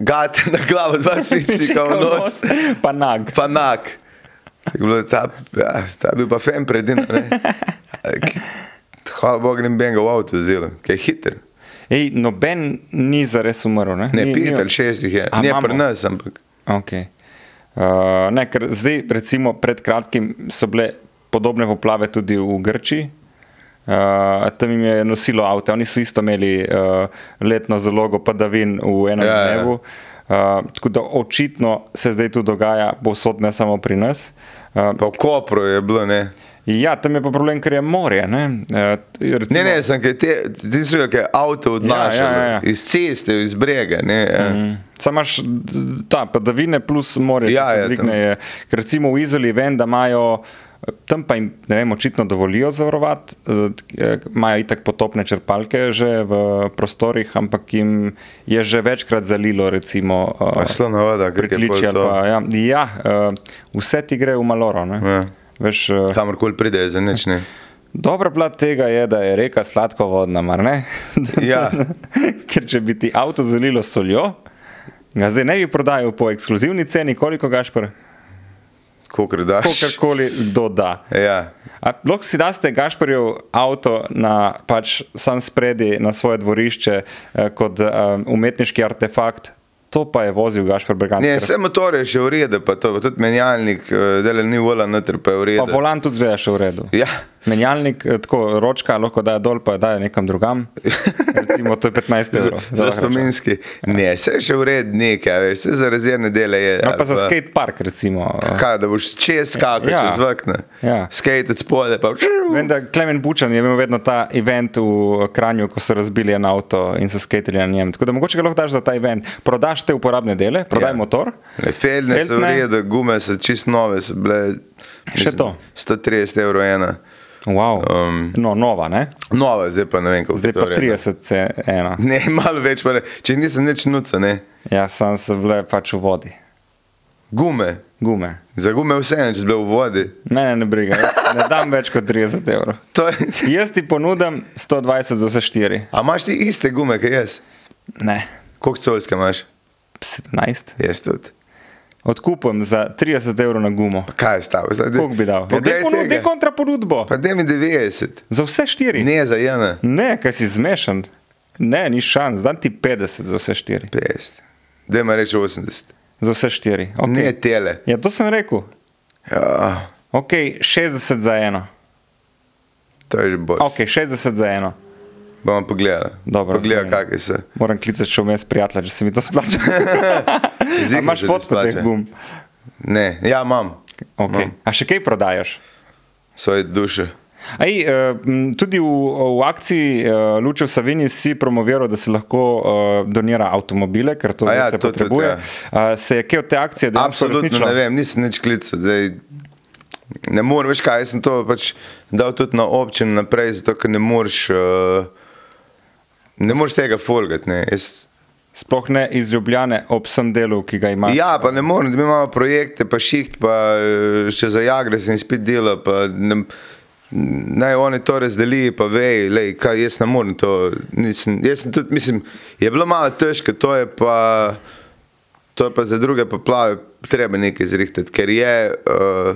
gate na glavo dva svičnika v nos. Pa nag. Pa nak. Tako bilo, Ta, ja, ta bil pa fen predin. Hvala Bogu, ne bi enega v avtu vzel, ki je hiter. Ej, noben ni zares umrl. Ne, Ne, Ni- ni- Peter, šest jih je. A, Ne imamo? pri nas, ampak. Okay. Uh, Eh, ne, ker zdaj, recimo, pred kratkim so bile podobne poplave tudi v Grčiji. Uh, tam jim je nosilo avto, oni so isto imeli uh, letno zalogo padavin v enem Ja, ja, ja. dnevu. Uh, tako da očitno se zdaj to dogaja povsod, ne samo pri nas. Uh, Pa v Kopru je bilo, ne. ja, tam je pa problem, ker je morje. Ne, uh, recimo, Ne, ne, sem kaj te, ti so jo, ki je avto odnašal. ja, ja. Mhm. Iz ceste, iz brega, ne. Ja. Sam Mm. imaš d- d- ta padavine plus morje, Ja, ja, se ja, dvigne. tam. Je, ker recimo v Izoli vem, da imajo. Tam pa jim ne vem, očitno dovolijo zavarovati, eh, eh, imajo itak potopne črpalke že v prostorih, ampak jim je že večkrat zalilo, recimo, eh, Pa slona voda, ker je pritličje. pol ali to. Pa, ja, ja, eh, vse ti gre v maloro. ne. Ja. Veš, eh, Kamorkoli pride, za nič ne. Dobra plat tega je, da je reka sladkovodna, mar ne? Ja. Ker če bi ti avto zalilo s soljo, ga zdaj ne bi prodajal po ekskluzivni ceni, koliko gašpr, Kokr daš. kakorkoli kdo da. Ja. A Lahko si daste gašprjev avto na pač sam spredi na svoje dvorišče eh, kot um, umetniški artefakt, to pa je vozil gašpr Brgant. Ne, ker vse motorje še v redu, pa to, pa tudi menjalnik, dele ni vola noter, pa je v Pa redu. volan tudi zgleda še v redu. Ja. Menjalnik, eh, tako ročka, lahko da dol, pa da nekam drugam. Recimo, to je 15 evrov. Za lahko rečem. spominski. Ne, vse je še v redu, nekaj, veš, vse za razjerne dele je. No, ali pa za skate park, recimo. Kaj, da boš čez skakal, Ja. ja. čez vrkne. Ja. Skate od spode, pa Vem, da Klemen Bučan je imel vedno ta event v Kranju, ko so razbili en avto in so skateli na njem. Tako da mogoče ga lahko daš za ta event. Prodaš te uporabne dele, prodaj ja. Ja. motor. Ne, Felne so v Feltne. redu, gume so čist nove, so bile. Še to. 130 evrov ena. Wow. Um, Um. no, nova, ne? Nova, zdaj pa ne vem, kako Zdaj pa 30 se ena. Ne, malo več, pa ne. če nisem nič nuca, ne. Ja, sam sem bile pač v vodi. Gume, Gume. za gume vse en, če zbe v vodi. Mene ne briga, jaz ne dam več kot 30 evrov. To je- Jaz ti ponudim 120 za vse štiri. A imaš ti iste gume, kot jaz? Ne, Koliko colske imaš? 17. Jaz tudi. Odkupim za 30 evrov na gumo. Pa kaj je stalo? Koliko bi dal? Ja, daj Poglej, ponud, daj tega. kontra ponudbo. pa da mi 90, Za vse štiri. Ne, ne za ena, ne kaj si zmešan. Ne, ni šans, dan ti 50 za vse štiri. 50. Da ima reči 80. Za vse štiri. Okay. Okay. Ne tele. Ja, to sem rekel. Ja, Ok, 60 za eno. to je že bolj. Ok, 60 za eno. Bomo pogledali. Dobro, Pogleda, razumem. kakaj se. Moram klicati še vmes prijatelja, če se mi to splača. A Zihar imaš se No. ti fotko teh splača. gum? Ne, ja, imam. Okay. A še kaj prodajaš? Svoje duše. Ej, eh, m, tudi v, v akciji eh, Lučo Savini si promoviral, da se lahko eh, donira avtomobile, ker to A ja, ja, se to, to tudi, potrebuje. ja. Eh, Se je kaj od te akcije dejansko Absolutno ne uresničilo? vem, nisem nič klical. Zdaj, ne moreš, veš kaj, jaz sem to pač dal tudi na občino naprej, zato ker ne moreš. Uh, Ne moreš tega folgati. ne. Jaz- Sploh ne iz Ljubljane ob vsem delu, ki ga imaš. Ja, pa ne morem, mi imamo projekte, pa šiht, pa eh, še za jagre sem spet dela. pa Ne, naj oni to razdeli, pa vej, lej, kaj jaz ne morem to. Nisem, jaz sem tudi, mislim, je bilo malo težko, to je pa, to je pa za druge poplave treba nekaj zrihtati, ker je. Uh,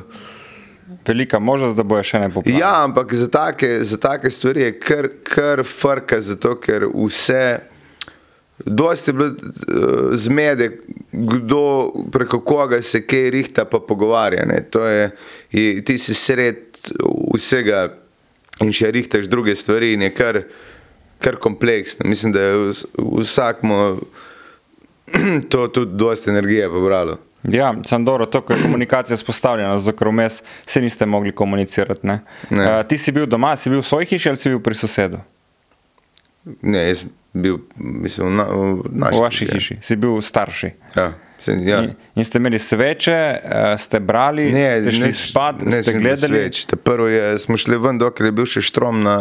Velika možnost, da bojo še ne poplavili. Ja, ampak za take, za take stvari je kar, kar frka, zato ker vse. Dosti je bilo eh, zmede, kdo preko koga se kaj rihta, pa pogovarja. ne. To Je, je, ti si sred vsega in še rihtaš druge stvari, in je kar, kar kompleksno. Mislim, da je vs- vsakmo to tudi dosti energije pobralo. Ja, sem dobro, to, ko je komunikacija spostavljena, zato ker vmes se niste mogli komunicirati. Ne? Ne. Eh, ti si bil doma, si bil v svoji hiši ali si bil pri sosedu? Ne, jaz bil, mislim, na, v naši V vaši hiši, si bil starši. Ja, mislim, ja. In, in ste imeli sveče, eh, ste brali, ne, ste šli ne, spat, ne, ste sem bil gledali. sveč. Ta Prvo je, smo šli ven, dokler je bil še štrom na,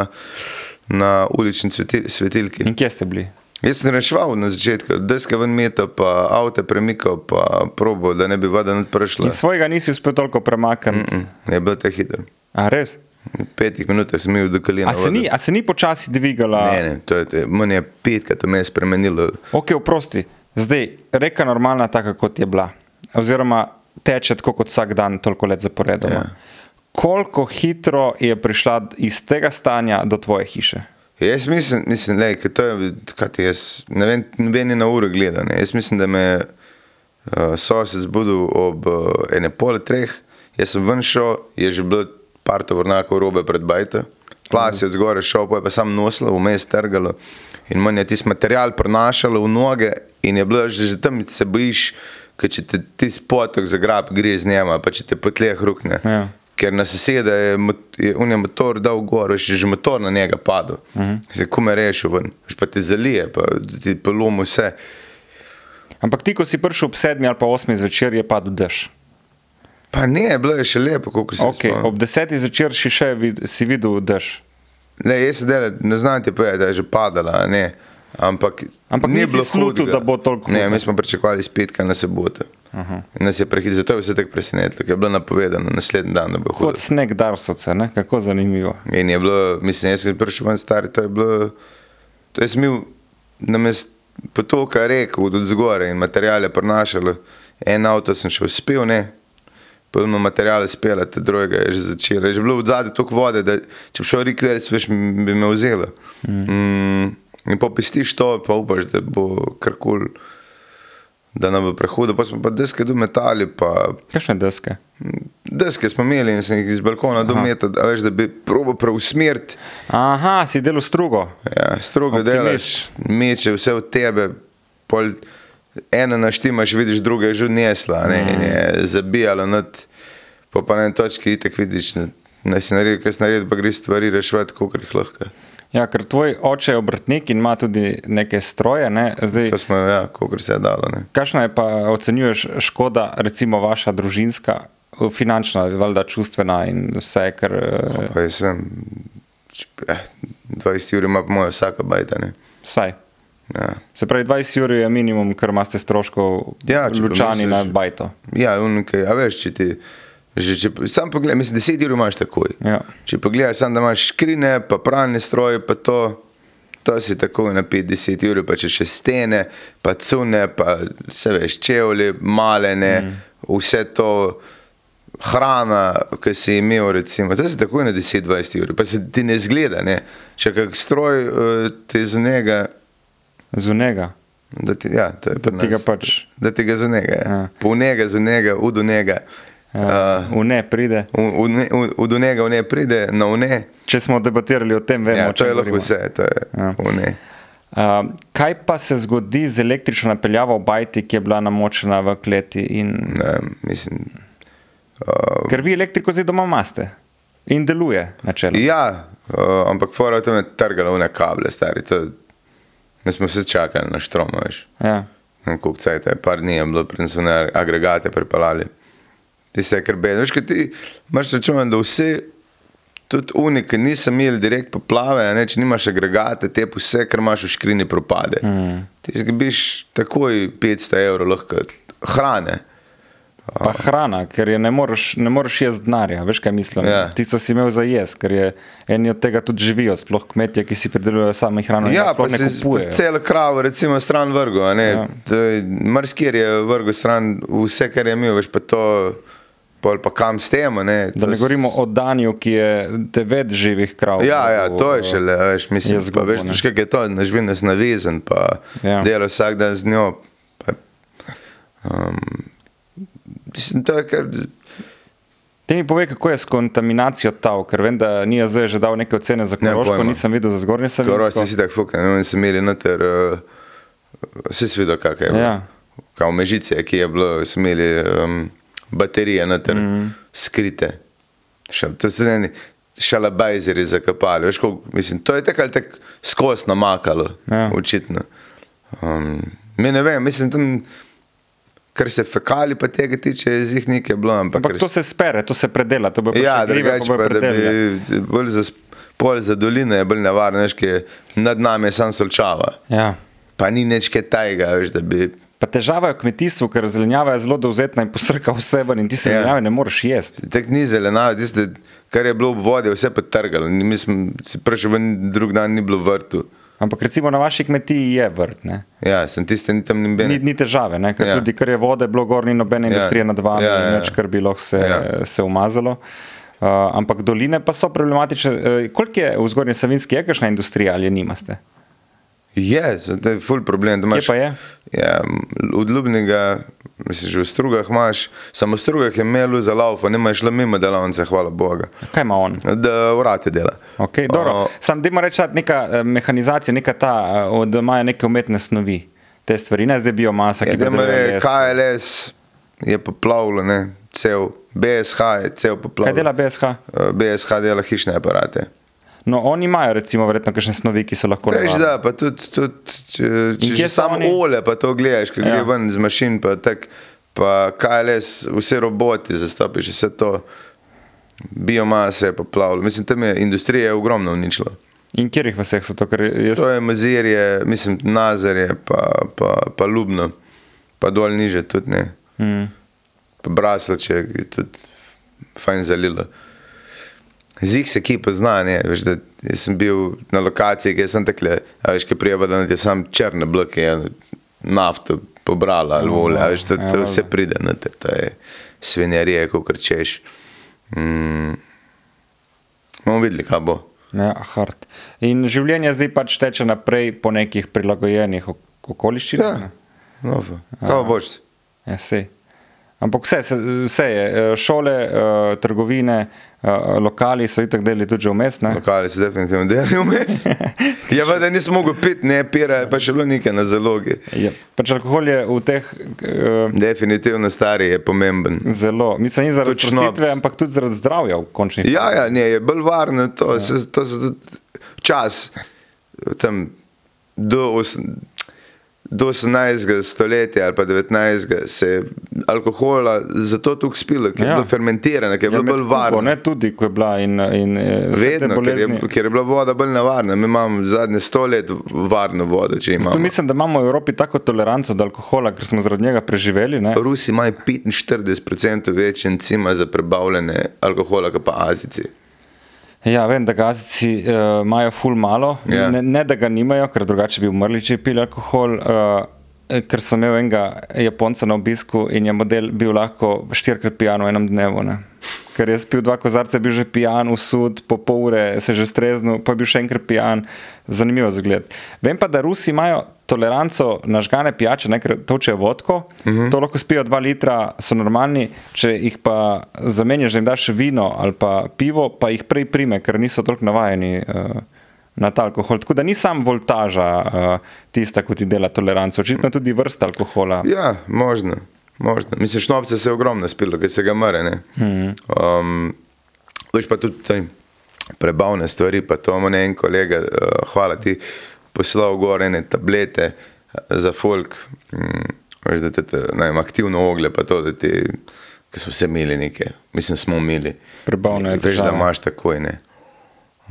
na ulični svetil, svetilki. In kje ste bili? Jaz sem reševal na začetku, deske ven metal, pa avto premikal, pa probo, da ne bi voda not prišla. Hm, In svojega nisi uspel toliko premakniti. Mm -mm. Je bilo te hitro. A res? V petih minutah sem bil do kolena. A se, ni, a se ni počasi dvigala? Ja, Ne, ne, to je, to je, meni je petkrat vmes spremenilo. Ok, oprosti. Zdaj, reka normalna, taka kot je bila. Oziroma, teče tako kot vsak dan, toliko let zaporedoma. Ja. Yeah. Koliko hitro je prišla iz tega stanja do tvoje hiše? Jaz mislim, mislim lej, ker to je, kaj ti jaz, ne vem, noben je na uro gledal. Ne. Jaz mislim, da me je uh, sosed zbudil ob uh, ene pol treh, jaz sem ven šel, je že bilo par tovornjakov robe pred bajto. Plas je od zgoraj šel, pa je pa sam nosilo, vmes trgalo. In manj je tisti material prenašalo v noge, in je bilo že, že tam se bojiš, ker če te ti spotok zagrab, greš z njema, pa če te po tleh rukne. Ja. Ker na soseda je, mot- je unija motor dal gor, veš, je že motor na njega padel. Uh Mhm. -huh. Se kume rešil ven, veš pa ti zalije, pa ti polomi vse. Ampak ti, ko si prišel ob sedmi ali pa osmi zvečer, je padel dež. Pa ne, bilo je še lepo, kako se Okay, spomnim. ob desetih zvečer si še vid, si videl dež. Ne, jaz se delam, ne znam ti povedati, da je že padala, a ne. ampak, Ampak ni nisi bilo slutil, hudega. da bo toliko Ne, hudo. mi smo pričakovali spet, kaj nas se bo. Nas je prehitro, zato je vse tako presenetilo, ker je bilo napovedano naslednji dan, da bo hudo. Kot sneg darsovce, ne? kako zanimivo. In je bilo, mislim, jaz sem prišel ven star, to je bilo, to je smil namest potoka rek od od zgore in materijale prenašalo. En avto sem še uspel, ne, polno materijale spela, te druge je že začela. Je že bilo v zadnji toliko vode, da če bi šel rek več, veš, m- bi me vzela. Mm. Mm, in popistiš to, pa upaš, da bo karkoli, da nam bo prehudo. Pa smo pa deske dometali, pa Kakšne deske? Deske smo imeli in sem jih iz balkona dometal, da, veš, da bi probo preusmeriti. Aha, si delal strugo. Ja, strogo Optimist. delaš, meče vse v tebe, pol eno naštimaš, vidiš, druga je že odnesla, ne, in je zabijala not, pa pa na eni točki itek vidiš, ne, ne si naredil, kaj si naredil, pa greš stvari reševati, koliko jih lahko. Ja, ker tvoj oče je obrtnik in ima tudi neke stroje. Ne? Zdaj, To smo, ja, koliko se je dalo. Ne. Kakšna je pa ocenjuješ škoda, recimo vaša družinska, eh, finančna, valjda čustvena in vse, kar eh, Pa jaz sem, če- eh, 20 ur ima po moje vsaka bajta, ne. vsaj. Ja. Se pravi, 20 ur je minimum, kar imate stroškov, Ja, če lučani na pomisliš- bajto. Ja, unkaj, a veš, če ti. Že, če, sam pogledaj, mislim, deset ur imaš takoj. Ja. Če pogledaš, sam da imaš škrine, pa pralne stroje, pa to, to si takoj na 50 ur, pa če še stene, pa cune, pa se veš, čevlji, malene, mm. vse to. Hrana, ki si imel, recimo, to se takoj na 10-20 ur, pa se ti ne zgleda, ne? če kak stroj eh, ti z njega, Zunega. da ti, ja, to je Da pri ti ga nas. pač- Da ti ga z njega, ja. Ja. polnega z njega, udo njega. Eh. Ja, v ne pride. V, v, ne- v, v do njega v ne pride, na v ne. Če smo debatirali o tem, vemo, Ja, če to je lahko vse, to je Ja. v ne. Uh, kaj pa se zgodi z električno napeljavo v Bajti, ki je bila namočena v kleti? In... ne vem, mislim, No. Ker vi elektriko zdaj doma imate in deluje, načeloma. Ja, uh, ampak fora je tam je trgalo vne kable, stari. To, mi smo vse čakali na štromo, veš. Ja. Kako cajt Hm, je, par dni je bilo, preden so ne agregate pripeljali. Ti se krbe, veš, kaj ti imaš račun, da vsi, tudi unike, nisem imel direkt poplave, a ne, če nimaš agregate, te vse, kar imaš v škrini, propade. Hm. Mm. Ti zgubiš takoj 500 evrov lahko hrane. Pa hrana, ker je ne moreš, ne moreš jesti denarja, veš kaj mislim. Ja. Tisto si imel za jesti, ker je eni od tega tudi živijo, sploh kmetje, ki si pridelujejo sami hrano. No, in Ja, je pa sploh ne se kupujejo. celo kravo, recimo, stran vrgo. Ja. Ja. Mrskir je vrgo stran vse, kar je imel, veš pa to, pol pa kam s tem. a Ne, Da To ne s- govorimo o Danju, ki je devet živih krav. Ja, ja, vrgel, to je šele, a veš, je mislim, je zgubo, zgubo, pa, veš, ne. veš, kaj je to, nažvinas navezan, pa Ja. ja. delo vsak dan z njo. Pa, um, mislim, to je kar, Te mi pove, kako je s kontaminacijo tav, ker vem, da ni zdaj že dal neke ocene za Nemam Koroško, pojma. nisem videl za zgornje Savinjsko. korosti si tako fukne, ne, oni so imeli noter, uh, vsi eh, si videl, kak je. bilo. Ja. Kao mežice, ki je bilo, so imeli um, baterije noter, Mhm. mm. skrite. Šal, to so neki šalabajzeri zakapali, veš, koliko, mislim, to je tako ali tako skos namakalo, Ja. ja. očitno. Um, mi ne vem, mislim, tam, kar se fekali pa tega tiče, je zih nekaj bilo, ampak, Ampak kar to se spere, to se predela, to bo Ja, grive, drugače bo pa, da predelja. bi bolj za, sp- pol za doline je bolj nevarno, veš, ki je nad nami je sam solčava. Ja. Pa ni nič kaj tajega, veš, da bi... Pa težava je v kmetijstvu, ker zelenjava je zelo dovzetna in posrka vse ven in ti se Ja. zelenjave ne moreš jesti. Tek ni zelenjava, tiste, kar je bilo v vodi, je vse potrgalo. Ni- Mi smo si prišli ven, drug dan ni bilo vrtu. Ampak recimo na vaši kmetiji je vrt, ne? Ja, sem tiste, ni tam Ni, nobene. ni težave, ne? ker ja. Ja. tudi kar je vode, bilo gor, ni nobene Ja. industrije ja. nad vami, Ja, ja, ja, ja. ja. kar bi lahko se, ja. Ja. se umazalo. Uh, ampak doline pa so problematične. Uh, koliko je v zgornji Savinski, je kakšna industrija ali je nimaste? Je, to je ful problem. da imaš- pa je? Ja, m, od Ljubnega, misliš, že v strugah imaš, samo v strugah je imel za laufa, ne imaš le mimo delavnice, hvala Bogu. Kaj ima on? Da vrate dela. Okay, dobro. O, Sam dajmo reči, da neka eh, mehanizacija, neka ta, eh, od imajo neke umetne snovi, te stvari, ne zdaj biomasa, ki Ja, jo da imamo. me re, KLS je poplavilo, ne, cel, BSH je cel Kaj poplavilo. dela BSH? Eh, BSH dela hišne aparate. No, oni imajo recimo verjetno kakšne snovi, ki so lahko Veš, nevarne. da, pa tudi, tudi če, In če kje že so samo oni? ole, pa to gledaš, ki Ja. ja. gre ven z mašin, pa tak, pa KLS, vse roboti zastopiš, vse to, biomase je poplavilo. Mislim, tam je industrija ogromno uničila. In kjerih vseh so to, ker jaz, To je Mazirje, mislim, Nazarje, pa, pa, pa Ljubno, pa dol niže tudi ne. mm, Pa Brasloče je tudi fajn zalilo. Zik se ki pozna, ne, veš, da jaz sem bil na lokaciji, kjer sem tekle, a veš, ki prijeva, da je sam črne bloke, je nafto pobrala ali vole, a veš, to, Ja, to vse pride na te, to je svinjarije, ko krčeš. Mm. Bomo videli, kaj bo. ja, hard. In življenje zdaj pač teče naprej po nekih prilagojenih ok- okoliščinah. Ja, ne? no, kaj boš? Ja, sej. Ampak vse, se- vse je, eh, šole, eh, trgovine, eh, lokali so itak deli tudi že vmes. ne? Lokali so definitivno delali vmes. Ja, pa da nisem mogel piti, ne pira, je pa še bilo nekaj na zalogi. Ja. Pač alkohol je v teh eh, Definitivno stari je pomemben. zelo, mislim, ni zaradi Točno. črnitve, ampak tudi zaradi zdravja v končni fazi. Ja, ja, ne, je bolj varno to, ja. se, to so tudi čas tam do, os, do 18. stoletja ali pa 19. se je alkohola zato tukaj spilo, Ja. ker ja. je bilo fermentirano, ker je Ja, bilo med bolj Kubo, varno. Ne, tudi ko je bila in, in eh, vse te Vedno, ker je, bolezni. ker je bila voda bolj nevarna. Mi imamo zadnje sto let varno vodo, če Tu imamo. mislim, da imamo v Evropi tako toleranco do alkohola, ker smo zaradi njega preživeli. Ne? Rusi imajo 45% več encima za prebavljanje alkohola, kot pa azici. Ja, vem, da gazici eh, imajo ful malo, Ja. ne, ne da ga nimajo, ker drugače bi umrli, če bi pili alkohol. eh, Ker sem imel enega Japonca na obisku in je model bil lahko štirikrat pijan v enem dnevu. Ne? ker jaz pil dva kozarca, bil že pijan, usud, po pol ure se že streznil, pa je bil še enkrat pijan. Zanimivo zgled. Vem pa, da Rusi imajo toleranco na žgane pijače, ne, ker točejo vodko, uh -huh. to lahko spijo 2 litra, so normalni, če jih pa zamenjaš, da jim daš vino ali pa pivo, pa jih prej prime, ker niso toliko navajeni. Uh, na ta alkohol. Tako da ni sam voltaža uh, tista, ki ti dela toleranco, očitno tudi vrsta alkohola. Ja, možno. možno. Mislim, šnopce se je ogromno spilo, ker se ga mre. ne. Mhm. Um, veš pa tudi te prebavne stvari, pa to mu ne en kolega, uh, hvala ti, poslal gor ene tablete eh, za folk, um, veš, da te, te ne vem, aktivno oglje, pa to, da ti, ki so vse imeli neke, mislim, smo imeli. Prebavno je Veš, da težava. imaš takoj, ne.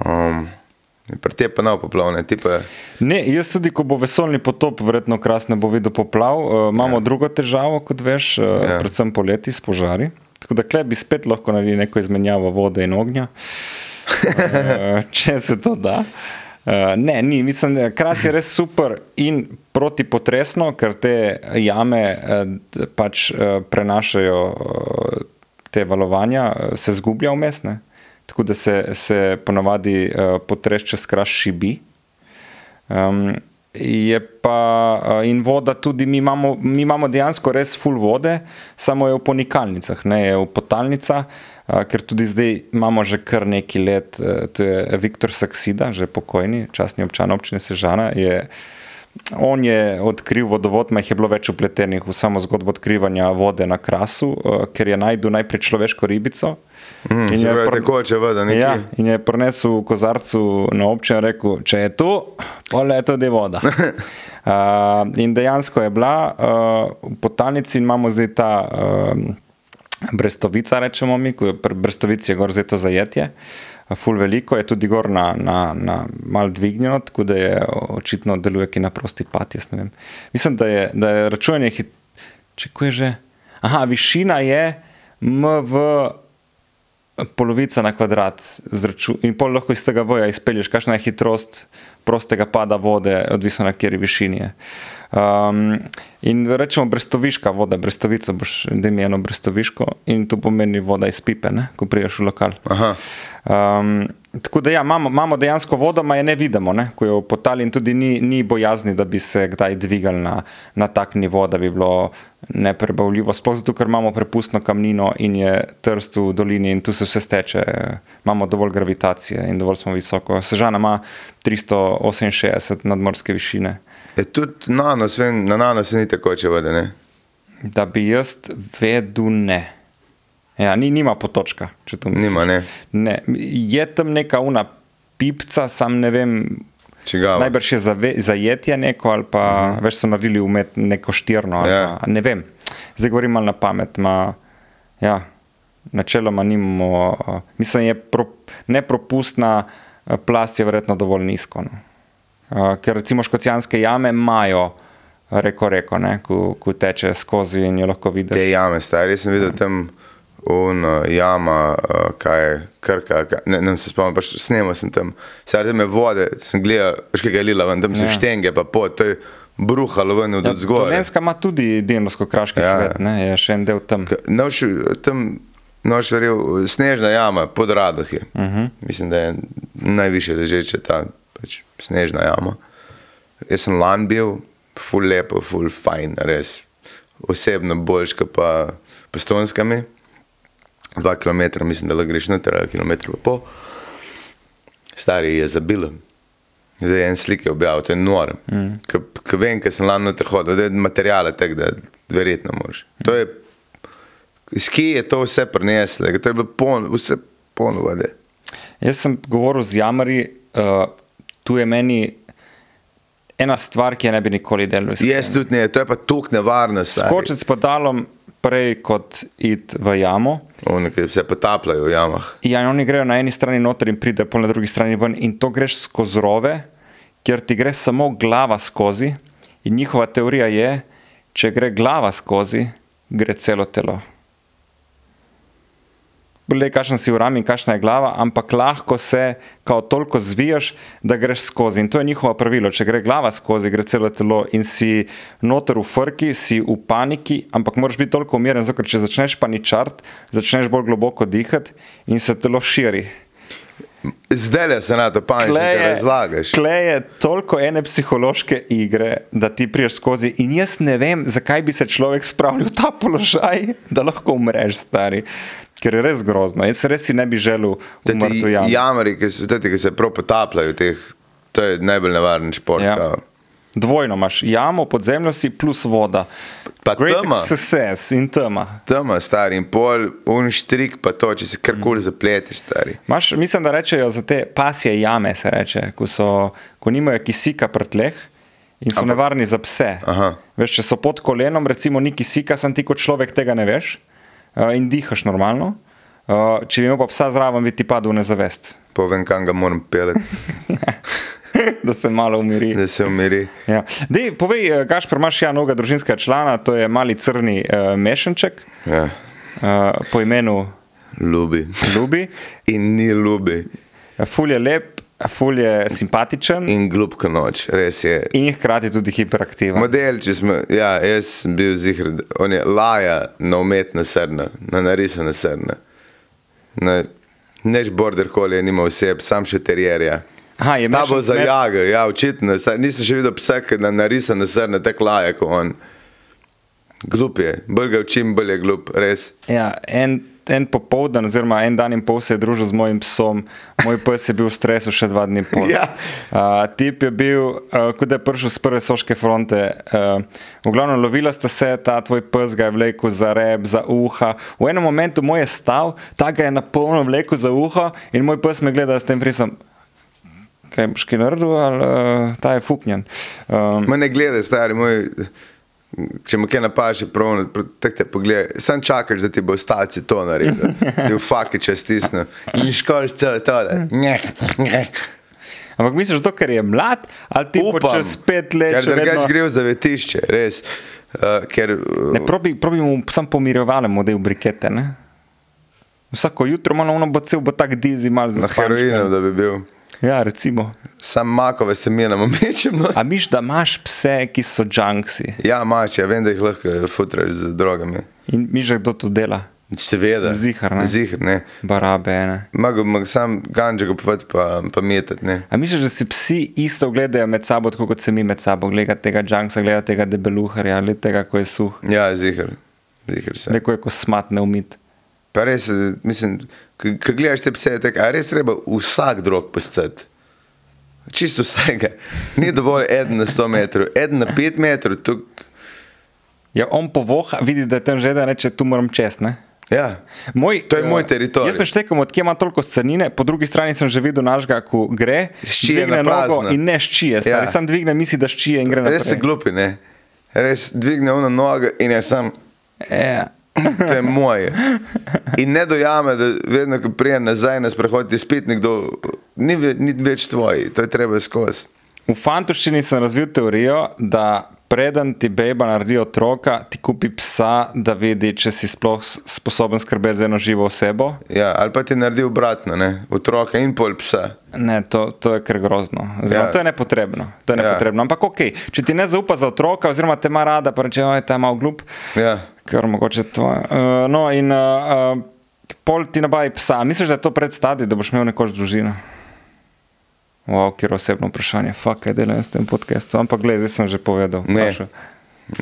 Um, Pri te pa ne poplavne, ti pa. Ne, jaz tudi, ko bo vesolni potop, verjetno kras ne bo videl poplav. Uh, imamo ja. drugo težavo, kot veš, uh, ja. Ja. predvsem poleti s požari. Tako da klej bi spet lahko naredili neko izmenjavo vode in ognja, uh, če se to da. Uh, ne, ni, mislim, da kras je res super in protipotresno, ker te jame eh, d- pač eh, prenašajo eh, te valovanja, eh, se zgublja vmes. ne. Tako da se, se ponavadi eh, potres čez kras šibi. Um, je pa uh, in voda tudi, mi imamo, mi imamo dejansko res full vode, samo je v ponikalnicah, ne je v potalnicah, uh, ker tudi zdaj imamo že kar neki let, uh, to je Viktor Saksida, že pokojni, časni občan občine Sežana, je On je odkril vodovod, mah je bilo več upletenih v samo zgodbo odkrivanja vode na krasu, eh, ker je najdel najprej človeško ribico. Mm, in se jo je pravi, pri- tekoče voda nekje. Ja, in je prinesel v kozarcu na občino in rekel, če je tu, pole je tudi voda. Uh, in dejansko je bila uh, v potalnici in imamo zdaj ta. Um, Brestovica, rečemo mi, ko je pri Brestovici je gor zdaj to zajetje, ful veliko je tudi gor na, na, na mal dvignjeno, tako da je očitno deluje ki na prosti pad, jaz ne vem. Mislim, da je, da je računanje, hit... če ko je že, aha, višina je MV polovica na kvadrat zraču, in pol lahko iz tega voja izpelješ, kakšna je hitrost prostega pada vode, odvisno na kateri višini je. Um, in rečemo brestoviška voda, brestovico boš, da mi eno brestoviško in to pomeni voda iz pipe, ne, ko priješ v lokal. Aha. Um, tako da ja, imamo, imamo dejansko vodo, ma je ne vidimo, ne? ko jo potali in tudi ni, ni bojazni, da bi se kdaj dvigali na, na tak nivo, da bi bilo neprebavljivo. Sploh zato, ker imamo prepustno kamnino in je trst v dolini in tu se vse steče, imamo dovolj gravitacije in dovolj smo visoko. Sežana ima 368 nadmorske višine. Je E, tudi nanos, vem, na nanos ni tekoče voda, ne? Da bi jaz vedel ne. Ja, ni, nima potočka, če to mislim. Nima, ne. Ne, je tam neka una pipca, sam ne vem. Čigava? Najbrž je zave, zajetje neko, ali pa uh -huh. več so naredili umet, neko štirno. ali Mhm. Ja. Pa, ne vem, zdaj govorim malo na pamet. Ma, ja, načeloma nimamo, uh, mislim, je pro, nepropustna uh, plast je verjetno dovolj nizko. No. Uh, ker recimo škocijanske jame imajo reko, reko, ne, ko, ko teče skozi in jo lahko vidiš. Te jame, stari, jaz sem videl tam un uh, jama, uh, kaj je, krka, kaj, ne, ne vem, se spomnim, pač snemal sem tam, stari tam je vode, sem gledal, veš kaj je lila ven, tam so Ja. štenge pa pot, to je bruhalo ven od ja, zgoraj. Slovenska ima tudi Dinosko-Kraški ja. Ja. svet, ne, je še en del tam. K- Noš, tam noš verjel, snežna jama pod Radohi. Uh -huh. Mislim, da je najviše ležeče ta pač, snežna jama. Jaz sem lani bil, ful lepo, ful fajn, res. Osebno boljš, kot pa postonskami. Dva km, mislim, da lahko greš na terenu, kilometr pa pol. Stari je zabil. Zdaj je en slike objavil, to je noro. Mm. Ker vem, ker sem lani na terenu hodil, da je materijale tak, da verjetno moraš. To je Iz kje je to vse prineslo? To je bilo polno, vse polno vode. Jaz sem govoril z Jamari, uh, tu je meni ena stvar, ki je ne bi nikoli delal. iskreno. Jaz tudi ne, to je pa tok nevarnost. stari. Skočiti s podalom prej kot iti v jamo. Ono, ki se potapljajo v jamah. Ja, in oni grejo na eni strani noter in pride pol na drugi strani ven, in to greš skozi rove, kjer ti gre samo glava skozi. In njihova teorija je, če gre glava skozi, gre celo telo. le kakšen si uram in kakšna je glava, ampak lahko se kao toliko zvijaš, da greš skozi. In to je njihovo pravilo. Če gre glava skozi, gre celo telo in si noter v frki, si v paniki, ampak moraš biti toliko umirjen, zato ker če začneš paničart, začneš bolj globoko dihati in se telo širi. Zdaj le se na to panično razlagaš. Klej je toliko ene psihološke igre, da ti priješ skozi. In jaz ne vem, zakaj bi se človek spravil v ta položaj, da lahko umreš, stari. Ker je res grozno. Jaz res si ne bi želel umreti v jami. Jamari, ki se, tati, ki se prav potapljajo, v teh, to je najbolj nevaren šport. Ja. Ja. Dvojno imaš jamo, pod zemljo si plus voda. Pa Great tema. success in tema. Tam je star in pol, unštrik pa to, če si Mm. karkoli zapleteš, stari. Maš, mislim, da rečejo za te pasje jame, se reče, ko, so, ko nimajo kisika pri tleh in so nevarni za pse. Aha. Veš, če so pod kolenom, recimo ni kisika, sem ti kot človek tega ne veš eh, in dihaš normalno. Eh, Če bi imel pa psa zraven, bi ti padel v nezavest, Povem, kam ga moram pelati, da se malo umiri. da se umiri. Ja. Dej, povej, Gašpr, imaš ja novega družinskega člana, to je mali crni uh, mešanček Ja. uh, po imenu Ljubi. Ljubi. In ni ljubi. Ful je lep, ful je simpatičen in, In glupka noč, res je. in hkrati tudi hiperaktiven. Model, če smo, ja, jaz sem bil zihr, on je laja na umetna srna, na narisana srna. Na, Neč border koli je nima oseb, sam še terjerja. Aha, je Ta mešan bo kmet. zajagal, ja, očitno. saj Nisem še videl psa, ki na narisana srna tako laja kot on. Glup je, bolj ga učim, bolj je glup, res. Ja, en, en popoldan, oziroma en dan in pol se je družil z mojim psom, moj pes je bil v stresu še dva dni in pol. Ja. Uh, tip je bil, uh, kot da je prišel z prve soške fronte. Uh, v glavnem lovila sta se, ta tvoj pes ga je vlekel za rep, za uha. V enem momentu moj je stal, ta ga je na polno vlekel za uho in moj pes me gleda s tem frisom. Kaj boš kaj naredil, ali uh, ta je fuknjen. Um, Me ne gledaj, stari moj. Če mu kaj napaše, pravno, tako te pogledaj. Sam čakaš, da ti bo staci to naredil. Ti v faki če stisne. In školiš celo tole. Njeh, njeh. ampak misliš, zato ker je mlad, ali ti bo Upam, čez pet let Ker še vedno... drugače gre v zavetišče, res. Uh, ker, uh, Ne, probi, probi mu sam pomirjevalen model brikete. Ne? Vsako jutro ima ono bo cel, bo tak dizi mal za na heroinu, da bi bil. Ja, recimo. Sam makove semena omečem. No. A miš, da imaš pse, ki so junksi Ja, mač, ja, vem, da jih lahko futraš z drogami. in miš, da kdo to dela, Seveda. Ziher, ne. Zihar, ne. barabe. Ne? Mogo bi sam ganđe kupovati pa, pa metati, ne. A miš, da si psi isto gledajo med sabo, tako kot se mi med sabo, gleda tega junksa, gleda tega debeluharja, ali tega, ko je suh, Ja, zihar. Zihar se. neko je kosmat neumit. Pa res, eh, mislim, ko ko gledaš te pse, tako, a res treba vsak drog postati. Čisto vsega. Ni dovolj eden na 100 metrov, eden na 5 metrov, tu. Ja, on povoha, vidi, da je tam že, da reče, tu moram čest, ne? Ja. Moj, To je moj eh, teritorij. Jaz neštekam, odkje ima toliko scenine, po drugi strani sem že videl našega, ko gre, Ščije dvigne na nogo prazno. in ne ščije. Ja. Ja. Sam dvigne, misli, da ščije in gre naprej. Res se glupi, ne. Res dvigne ono nogo in je sam, Ja. to je moje. In ne dojame, da vedno, ko prijem nazaj na sprehod, je spet nekdo, ni, ve- ni več tvoj, to je treba skozi. V fantoščini sem razvil teorijo, da preden ti beba naredi otroka, ti kupi psa, da vidi, če si sploh s- sposoben skrbeti za eno živo osebo. Ja, ali pa ti naredi obratno, ne? otroka in pol psa. Ne, to, to je kar grozno. Oziroma, ja. Ja. To je nepotrebno. To je Ja. nepotrebno. Ampak ok, če ti ne zaupa za otroka, oziroma te ima rada, pa reče, da je ta malo glup. Ja. Kar mogoče to. Uh, no, in uh, uh, pol ti nabavi psa. Misliš, da je to predstadi, da boš imel nekoč družino? Wow, kjer osebno vprašanje, fuck, kaj delam s tem podcastom. Ampak gledaj, zdaj sem že povedal. Ne. vprašal.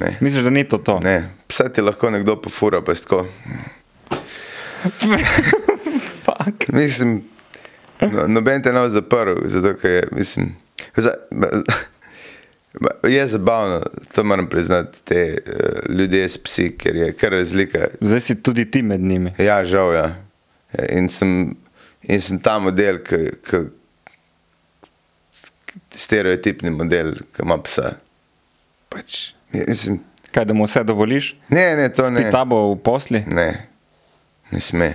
Ne. Misliš, da ni to to? Ne, psa ti lahko nekdo pofura, pa je tako. Fuck. Mislim, no, noben te ne bo zaprl, zato ker je, mislim, za, je zabavno, to moram priznati, te eh, ljudje s psi, ker je kar razlika. Zdaj si tudi ti med njimi. Ja, žal, ja. In sem, in sem ta model, ki- ki stereotipni model, ki ima psa. Pač, mislim, Kaj, da mu vse dovoliš? ne, ne, to Spi ne. tabo v posli, Ne, ne sme.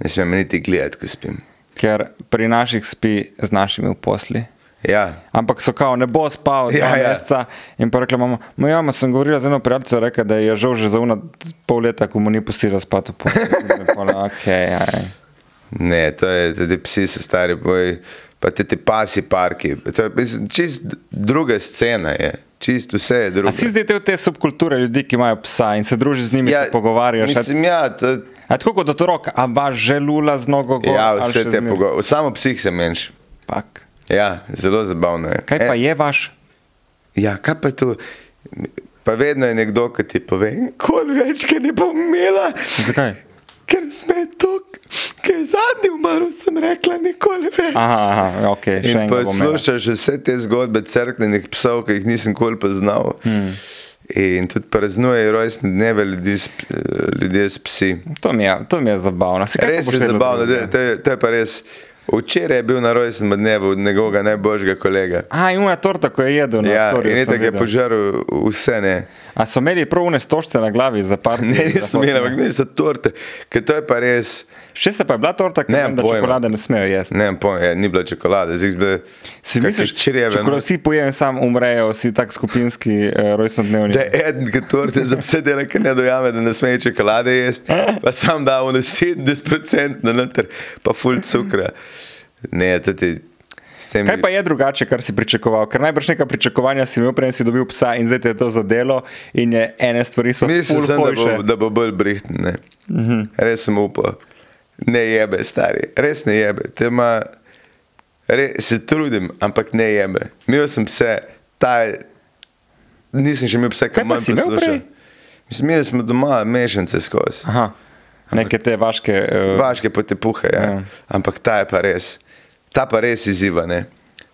Ne sme me niti gledati, ko spim. ker pri naših spi z našimi v posli. Ja, Ampak so kao, ne bo spal dva ja, Ja, ja. meseca. Ja. In pa rekla mama, "Ma ja, ma sem govorila z eno prijateljico, rekla, da je žal že za uno pol leta, ko mu ni pustila spati. v postelji." Tako da pol, okay, aj. Ne, to je, te, te psi so stari, boj, pa te, te pasi parki. To je mislim, čist druga scena, je. čist vse je drugo. A si zdaj del te subkulture ljudi, ki imajo psa in se družiš z njimi, ja, se pogovarjaš? Mislim, ja, to, A tako kot otrok, a baš želula z nogo gor. ja, ali vse še te zmeraj? pogovore. Samo psih se menš. Pak. Ja, zelo zabavno je. Kaj pa E, je vaš? Ja, kaj pa je tu? Pa vedno je nekdo, ki ti pove, nikoli več, ker ne bom imela. Zakaj? Ker sem tok, ki je zadnji umrl, sem rekla, nikoli več. Aha, aha ok, še In enkrat. poslušaš vse te zgodbe crkvenih psov, ki jih nisem kol poznal. Hmm. In tudi praznujejo rojstne dneve ljudi s, ljudje s psi. To mi je, to mi je zabavno. Se, kako Res boš je vedel, zabavno, kdo je? da- to je, to je pa res. Včeraj je bil na rojstnem dnevu njegovega najboljšega kolega. A, in ona torta, ko je jedel, na Ja, storju in sem tako je videl. požaril vse ne. A so imeli prav une stožce na glavi za par dni? Ne, nisem imel, ampak ne so torte, ker to je pa res. Še se pa je bila torta, ker Ne, vem, da pojma. čokolade ne smejo jesti. Ne, vem, pojma, je, ni bila čokolada, zdaj bi Si misliš, čreve. ko no. vsi pojejo, sam umrejo, vsi tak skupinski eh, rojstnodnevni. Da je eden, ki torte za vse dela, ker ne dojame, da ne sme čokolade jesti, pa sam da v 70% na noter, pa full cukra. Ne, to ti. s Tem, Kaj pa je drugače, kar si pričakoval? Ker najbrž neka pričakovanja si imel, prej si dobil psa in zdaj te je to zadelo in je Mhm. ene stvari so Mislim, sem, da, bo, fulhojše. da bo bolj brihten. Ne. Res sem upal. Ne jebe, stari, res ne jebe. Te Ima, re, se trudim, ampak ne jebe. Imel sem vse, ta, je- nisem še imel vse, Kaj kar pa manj si imel poslušal. prej? Mislim, imeli smo doma mešance skozi. Aha, neke te vaške. eh, Vaške potepuhe, ja. Ja. ampak ta je pa res, ta pa res izziva. Ne?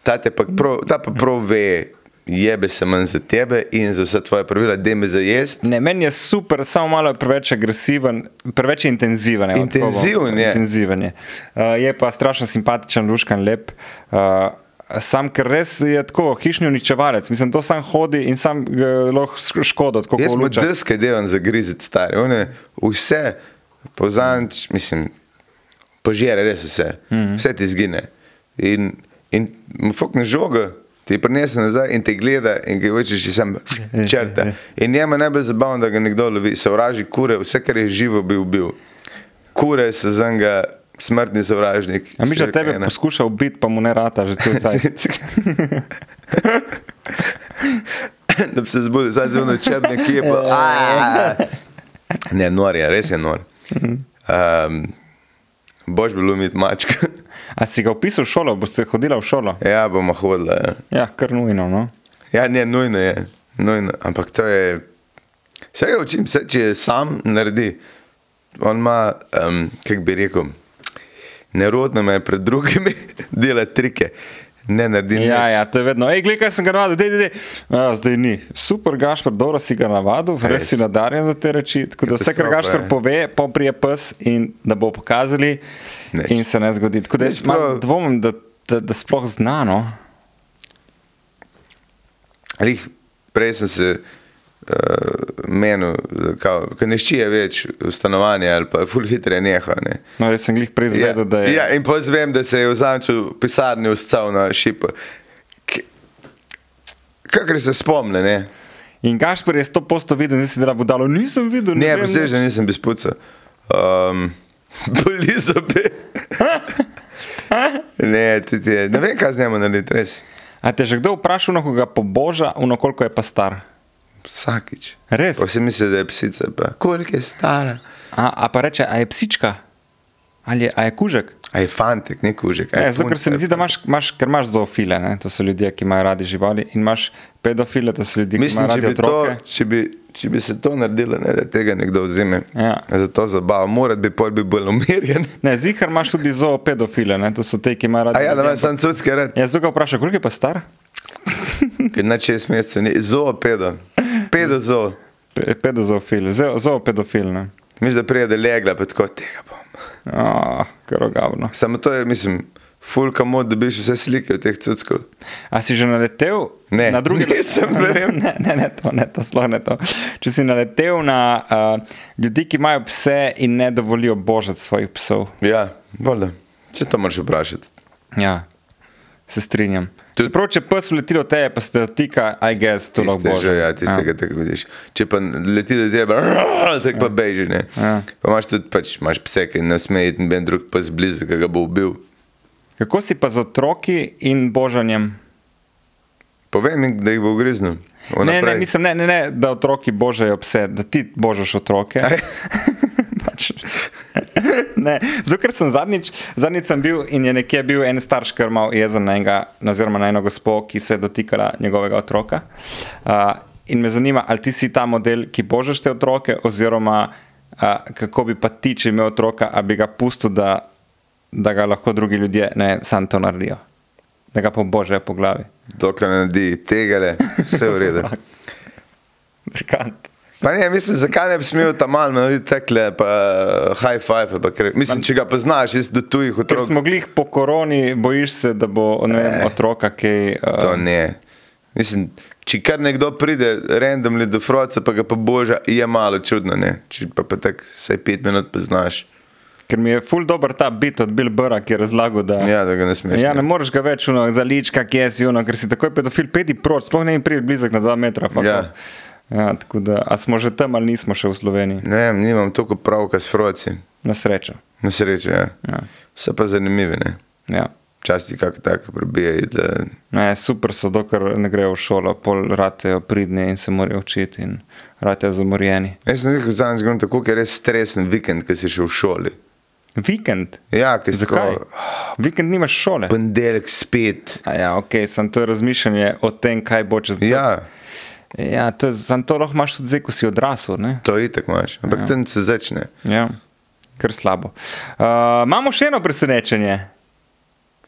Ta, te pa prav, ta pa prav ve, jebe se manj za tebe in za vse tvoje pravila, da me zajest. Ne, meni je super, samo malo je preveč agresiven, preveč je intenziven. evo, tako bom- Intenziven je. intenziven je. Uh, je pa strašno simpatičen, luškan, lep. Uh, Sam, ker res je tako, hišni uničevalec, mislim, to sam hodi in sam eh, lahko sk- škodo, tako Jaz kot mu luča. deske delam za grizet stari, on je vse, pozanč, mislim, požere res vse, Mhm. vse ti izgine. In, in mu fukne žoga, ti prenese nazaj in te gleda in ki večeš, sem črta. In njemu je najbolj zabavno, da ga nekdo lovi, sovraži kure, vse kar je živo bi ubil. Kure so za njega smrtni sovražnik. A mi že Še tebe ena. poskuša ubiti, pa mu ne rata, že cel cel cel. da bi se zbudil, zdaj zelo črne, ki je Ja, pa. Aaa. ja. Ne, nor je, res je nor. Um, boš bil umit mačka. A si ga upisal v šolo, boste hodila v šolo? Ja, bomo hodila. Ja. Ja, kar nujno. No? ja, ne, nujno je. Nujno. Ampak to je. Vse ga učim, vse, če je sam naredi. On ima, um, kako bi rekel, nerodno me je pred drugimi, dela trike. Ne naredi Ja, nič. ja, to je vedno. Ej, gledaj, kaj sem ga navadil, dej, dej, dej. A, zdaj ni. Super, Gašpor, dobro si ga navadil, res Res. si nadarjen za te reči. Tako da vse, kar Katastrofa, Gašpor ja. pove, poprije pes in da bo pokazali, Neč. Nič. in se ne zgodi. Tako da jaz Nič, prav. malo dvomim, da, da, da sploh no. znano. Lih, prej sem se uh, menil, da ne ščije več v stanovanje ali pa ful hitre neha. Ne. No, jaz sem glih prej zvedel, da je. ja, in pa zvem, da se je v zanču pisarni ustal na šipo. K- Kakor se spomne, ne? In Gašpor je 100% videl, nisem videl, da bo dalo, nisem videl. Ne, vem, vse že nisem bil spuca. Um, Boli so bi. Ne, tudi je. Ne vem, kaj z njim narediti, res. A te je že kdo vprašal, no, koga poboža, no, koliko je pa star? Vsakič. Res? Pa si misli, da je psica, pa koliko je stara. A, a pa reče, a je psička? Ali je, a je kužek? A je fantek, ne kužek. a je Ne, zato, ker se mi punca. zdi, da imaš, imaš, ker imaš zoofile, ne? to so ljudje, ki imajo radi živali, in imaš pedofile, to so ljudje, ki Mislim, imajo če radi bi, to, otroke. če, bi, če bi se to naredilo, ne, da tega nekdo vzame Ja. za to zabavo, morat bi pol bi bolj umirjen. Ne, zihar imaš tudi zoopedofile, ne? to so te, ki imajo radi A ja, da ljudi, imaš sam cudske red, ampak- Jaz druga vprašam, koliko je pa star? ker na šest mesecev ni zoo, pedo, pedo zoo. Pe- Pedozoofil, ze- zoopedofil. ne. Misliš, da prije da legla, pa tako tega bom. Ah, Krogavno. Samo to je, mislim, fulka mod, da biš vse slike od teh cudskov. A si že naletel Ne, na druge? nisem, verjemem. ne, ne, ne, to ne, to sploh ne to. Če si naletel na uh, ljudi, ki imajo pse in ne dovolijo božati svojih psov. Ja, valjda. Če to moraš vprašati. Ja, se strinjam. Tudi- Čeprav, če pes leti od tebe, pa se te dotika, I guess, to lahko Tiste bože. že, ja, tistega ja. tako vidiš. Če pa leti do tebe, tako pa beži. Ne? Ja. Pa imaš tudi pač, imaš pse, ki ne sme iti noben drug pes blizu, ki ga bo ubil. Kako si pa z otroki in božanjem? Povej mi, da jih bo ugriznil. Ne, ne, Vnaprej. mislim, ne, ne, ne, da otroki božajo pse, da ti božaš otroke. Aj. pač. ne, zato ker sem zadnjič, zadnjič sem bil in je nekje bil en starš, ki je mal jezen na enega, oziroma na eno gospo, ki se je dotikala njegovega otroka. Uh, in me zanima, ali ti si ta model, ki božaš te otroke, oziroma uh, kako bi pa ti, če imel otroka, a bi ga pustil, da, da ga lahko drugi ljudje ne sam to naredijo, da ga pobožajo po glavi. Dokler ne naredi tega, le, vse v redu. Rekant. Pa ne, mislim, zakaj ne bi smel tam malo narediti tekle, pa eh, high five. ali Pa, kar- mislim, če ga pa znaš, jaz do tujih Ker otrok. Eh. smo glih po koroni, bojiš se, da bo ne vem, otroka kaj. Uh, To ne. Mislim, če kar nekdo pride, randomly do froca, pa ga pa boža, je malo čudno, ne. Če pa, pa tako vsaj pet minut pa znaš. ker mi je ful dober ta bit od Bill Burra, ki je razlagal, da. Ja, da ga ne smeš. Ja, ne moreš ga več uno, za lička, ki je si uno, ker si takoj pedofil, pedi proč, sploh ne jim pride blizek na 2 metra. fuck. Ja. Ja, tako da, a smo že tam ali nismo še v Sloveniji, ne vem, nimam toliko pravka s froci. na srečo. Na srečo, ja. Ja. So pa zanimivi, ne. Ja. Včasih kako tako prebijajo. Da... Ne, super so, dokler ne grejo v šolo, pol ratejo pridni in se morajo učiti, in ratejo zamorjeni. Jaz sem rekel, zadnjič grem tako, ker je res stresen vikend, ki si še v šoli. Vikend. Ja, ki si Zakaj? tako, Vikend nimaš šole. Ponedeljek spet. A Ja, ok, sem to je razmišljanje o tem, kaj bo čez dan. Ja, ja to je, sem to lahko imaš tudi zdaj, ko si odrasel. Ne? to je tako imaš. Ampak ja. tam se začne. Ja, kar slabo. Uh, imamo še eno presenečenje.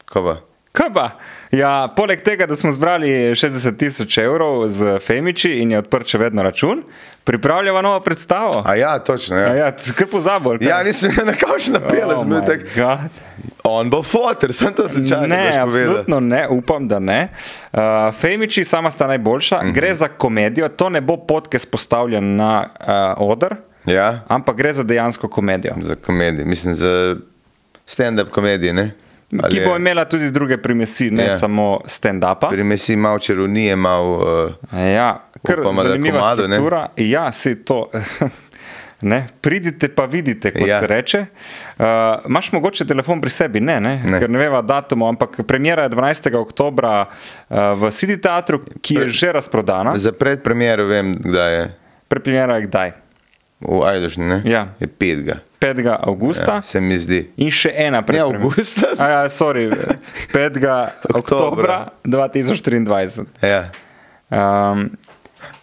Kova. Kaj pa? Ja, poleg tega, da smo zbrali 60 tisoč evrov z Femiči in je odprt še vedno račun, pripravljamo novo predstavo. A ja, točno. A Ja, ja. Ja, skrb pozabo. ja nisem na kavč napel, oh sem bil tak. On bo fotor, sem to začel. Ne, absolutno ne, upam, da ne. Uh, Femiči, sama sta najboljša, Mhm. uh -huh. gre za komedijo, to ne bo podcast postavljen na uh, oder, Ja, ampak gre za dejansko komedijo. za komedijo, mislim za stand-up komedijo, ne? Ali ki je- bo imela tudi druge primesi, ne Ja. yeah. samo stand-upa. Primesi malo čarovnije, malo. Uh, Ja, kar Upamo, da zanimiva komado, ne? struktura. Ne? Ja, si to. Ne? Pridite pa vidite, kot ja. Ja. se reče. Uh, Máš mogoče telefon pri sebi? Ne, ne? ne. Ne. ker ne veva datumov, ampak premjera je 12. oktober uh, v City Teatru, ki je Pre- že razprodana. za predpremiero vem, kdaj je. Prepljena je kdaj? V Ajdošni, ne? Ja. Je 5. 5. avgusta Ja, ja. se mi zdi. in še ena Ne, predpremjera. avgusta. A Ja, sorry, 5. oktobra Oktobra. 2023. Ja. Um,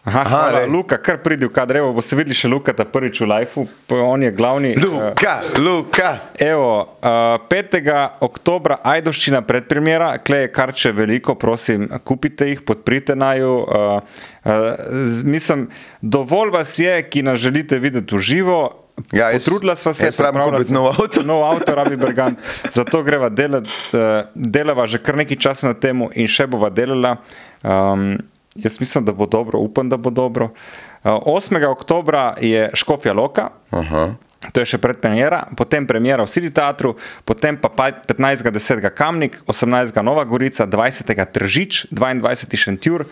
aha, hvala, lej. Luka, kar pridi v kadrevo, boste videli še Luka ta prvič v lifeu, pa on je glavni. eh, Luka, Luka. Evo, eh, 5. oktober, Ajdoščina predpremjera, klej je kar če veliko, prosim, kupite jih, podprite naju. eh, eh, z- Mislim, dovolj vas je, ki nas želite videti v živo. Ja, jaz- Potrudila sva se, jaz rabim pripravila kupiti sva- nov avto. Nov avto, rabi Bergant. Zato greva delati, eh, delava že kar nekaj časa na tem in še bova delala. Um, jaz mislim, da bo dobro, upam, da bo dobro. Eh, 8. oktober je Škofja Loka. Aha. To je še predpremjera, potem premjera v City Teatru, potem pa pa 15.10. Kamnik, 18. Nova Gorica, 20. Tržič, 22. Šentjur,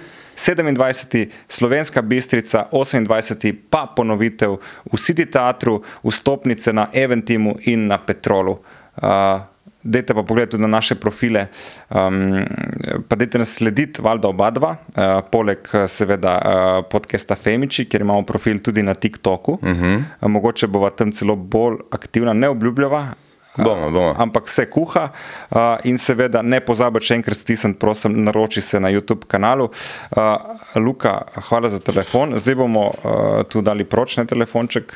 27. Slovenska Bistrica, 28. pa ponovitev v City Teatru, vstopnice na Eventimu in na Petrolu. Uh, Dajte pa pogled tudi na naše profile, um, pa dajte nas slediti, valjda oba dva, uh, poleg eh, seveda uh, podcasta Femiči, kjer imamo profil tudi na TikToku. Uh -huh. uh, mogoče bova tam celo bolj aktivna, ne obljubljava. eh, Bomo, bomo. Ampak se kuha uh, in seveda ne pozabite še enkrat stisniti, prosim, naroči se na YouTube kanalu. Uh, Luka, hvala za telefon. Zdaj bomo uh, tu dali proč na telefonček,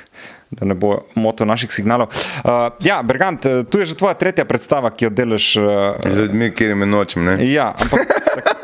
da ne bo moto naših signalov. Uh, ja, Bergant, eh, tu je že tvoja tretja predstava, ki jo deliš. Uh, Z ljudmi, kjer jim je nočem, ne? ja, ampak. tak-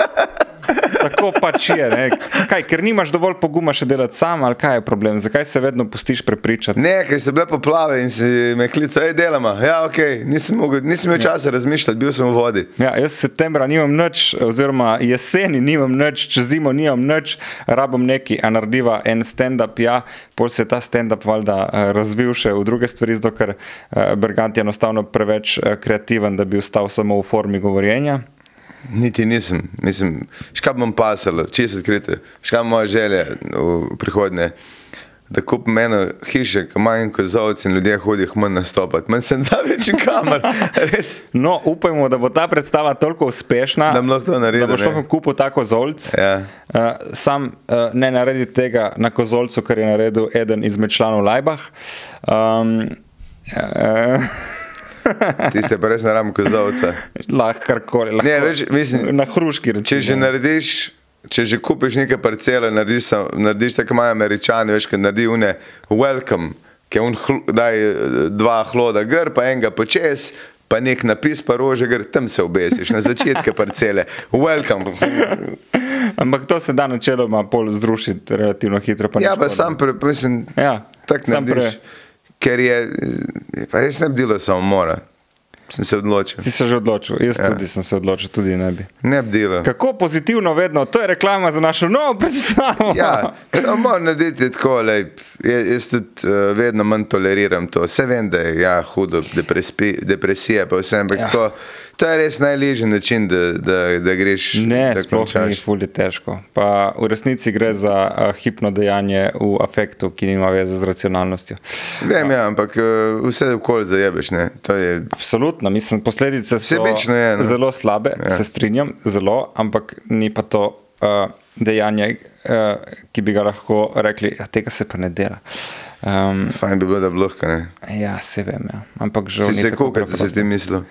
Tako pač je. Ne? Kaj, ker nimaš dovolj poguma še delati sam, ali kaj je problem? Zakaj se vedno pustiš prepričati? Ne, ker so bile poplave in si me klical, hej, delamo. Ja, ok, nisem, mogel, nisem imel časa razmišljati, bil sem v vodi. Ja, jaz septembra nimam nič, oziroma jeseni nimam nič, čez zimo nimam nič, rabim neki, a narediva en stand-up, ja, pol se je ta stand-up valjda eh, razvil še v druge stvari, zato ker eh, Bergant je enostavno preveč eh, kreativen, da bi ostal samo v formi govorjenja. Niti nisem, mislim, škaj bom pasal, čisto odkrito, škaj je moja želja no, v prihodnje. Da kupim eno hišo, ki ima en kozovec in ljudje hodijo k meni nastopati. Meni se ne da več kamer, res. No, upajmo, da bo ta predstava toliko uspešna, Da bom lahko to naredil, Da boš ne. lahko kupil ta kozolc. Ja. Uh, sam uh, ne naredi tega na kozolcu, kar je naredil eden izmed članov Lajbah. Um, uh, Ti se pa res ne rabim kozovca. lahko karkoli. Lahko, Ne, več, mislim, na hruški Če že rečemo. narediš, če že kupiš neke parcele, narediš, sam, narediš tako imajo američani, veš, kaj naredi une welcome, ki un hlu, daj eh, dva hloda gr, pa enega počes. Pa nek napis, pa rože, gre tam se obesiš, na začetku parcele. Welcome. Ampak to se da načeloma pol zrušiti relativno hitro. Pa ni Ja, pa škoda. sam, pre, mislim, Ja, tako sam ne pre- moreš. Ker je, eh, pa jaz ne bi delal samomora, sem se odločil. Si se že odločil, jaz ja. tudi sem se odločil, tudi ne bi. Ne bi delal. Kako pozitivno vedno, to je reklama za našo novo predstavo. Ja, samo narediti je tako, lej, jaz, jaz tudi uh, vedno manj toleriram to. Vse vem, da je ja, hudo, deprespi, depresija, pa vse, ampak Ja. ja. tako, to je res najlažji način, da, da, da greš Ne, da sploh ni končaš. fulje težko. Pa v resnici gre za uh, hipno dejanje v afektu, ki nima veze z racionalnostjo. Vem, ja, ampak uh, vse okoli zajebeš. Ne? To je Absolutno, mislim, posledice so Sebično je, no. zelo slabe, ja. Ja. se strinjam, zelo, ampak ni pa to uh, dejanje, uh, ki bi ga lahko rekli, da tega se pa ne dela. Um, fajn, bi bilo, da blokka. Ne? ja, se vem, ja. ampak žal. Si ni se tako kukaj, si se preprosto. ti mislil.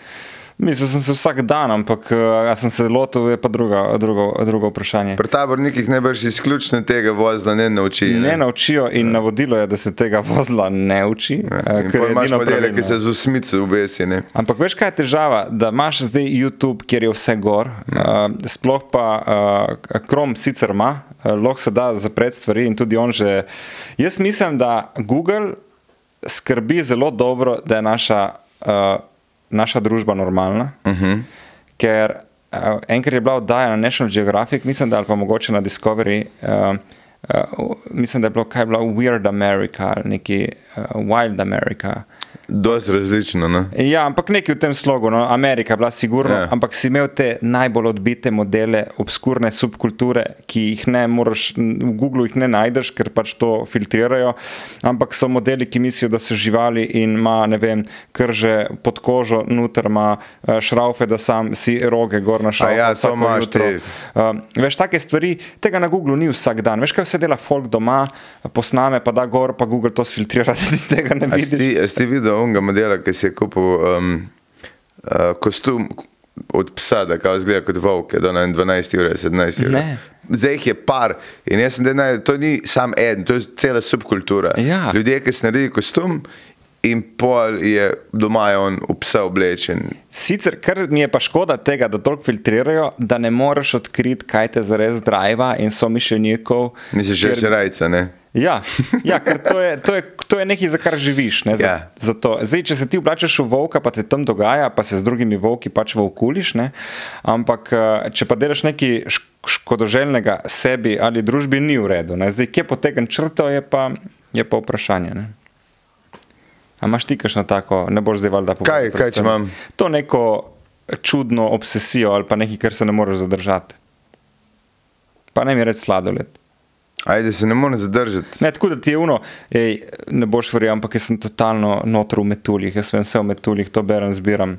Mislil sem se vsak dan, ampak eh, a sem se lotil, je pa druga, drugo, drugo vprašanje. Pri tabornikih ne boš izključno tega vozila, ne nauči. Ne naučijo in navodilo je, da se tega vozla ne uči. eh, Ja, In kar pol je imaš edino modele, ki pravilno. se z usmice ubesi. Ne? Ampak veš, kaj je težava, da imaš zdaj YouTube, kjer je vse gor, uh, sploh pa uh, Chrome sicer ima, uh, lahko se da zapreti stvari in tudi on že. Jaz mislim, da Google skrbi zelo dobro, da je naša, uh, naša družba normalna, uh -huh. ker uh, enkrat je bila oddaja na National Geographic, mislim, da ali pa mogoče na Discovery. Uh, Uh, mislim, da je bilo kaj je bilo Weird America ali neki uh, Wild America. Dosti različno. no. Ne? Ja, ampak nekaj v tem slogu, no, Amerika je bila sigurno, Ja. yeah. ampak si imel te najbolj odbite modele, obskurne subkulture, ki jih ne moreš, v Googlu jih ne najdeš, ker pač to filtrirajo, ampak so modeli, ki mislijo, da so živali in ima, ne vem, krže pod kožo, noter ima eh, šraufe, da sam si roge gor na šraufe. ja, to vsako imaš jutro. te. Um, veš, take stvari, tega na Googlu ni vsak dan. Veš, kaj vse dela folk doma, posname, pa da gor, pa Google to sfiltrira, da ti tega ne A si vidiš. ti- a si ti videl onega modela, ki si je kupil um, uh, kostum od psa, da kao zgleda kot volk, da na 12 ur, 17 ur. Ne. Zdaj jih je par in jaz sem denaj, to ni sam en, to je cela subkultura. Ja. Ljudje, ki so naredili kostum in pol je doma je on v psa oblečen. Sicer, kar mi je pa škoda tega, da toliko filtrirajo, da ne moreš odkriti, kaj te zares driva in so mišljenikov. Misliš, že Ker- je rajca, ne? Ja, ja ker to je, to, je, to je nekaj, za kar živiš. Ne, za, Ja. za to. Zdaj, če se ti oblačeš v volka, pa te tam dogaja, pa se z drugimi volki pač volkuliš. Ne? Ampak eh, če pa delaš nekaj šk- škodoželjnega sebi ali družbi, ni v redu. Ne? Zdaj, kje potegnem črto, je pa, je pa vprašanje. Ne? A imaš ti kakšno tako, ne boš zdaj valjda povedal? Kaj- kaj, če predvsem. imam? To neko čudno obsesijo ali pa nekaj, kar se ne moreš zadržati. Pa ne mi reči sladoled. Ajde, se ne morem zadržati. Ne, tako da ti je uno, ej, ne boš verjel, ampak jaz sem totalno noter v metuljih, jaz vem vse o metuljih, to berem, zbiram.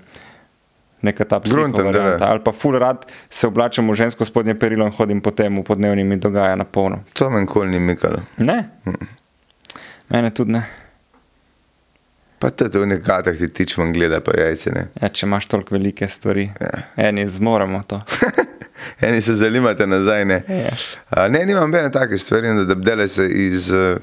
Neka ta Grunten, da, da. psihoterapija. Ali pa full rad se oblačim v žensko spodnje perilo in hodim po tem, po dnevni mi dogaja na polno. To meni nikoli ni mikalo. Ne? Mene tudi ne. Pa tudi v nekatah ti tičman gleda, pa jajce ne. Ja, če imaš toliko velike stvari, Ja. eni zmoremo to. Eni se zanimate nazaj. Ne, Ja. A, ne nimam nobene take stvari, da, da bi delal se iz. eh,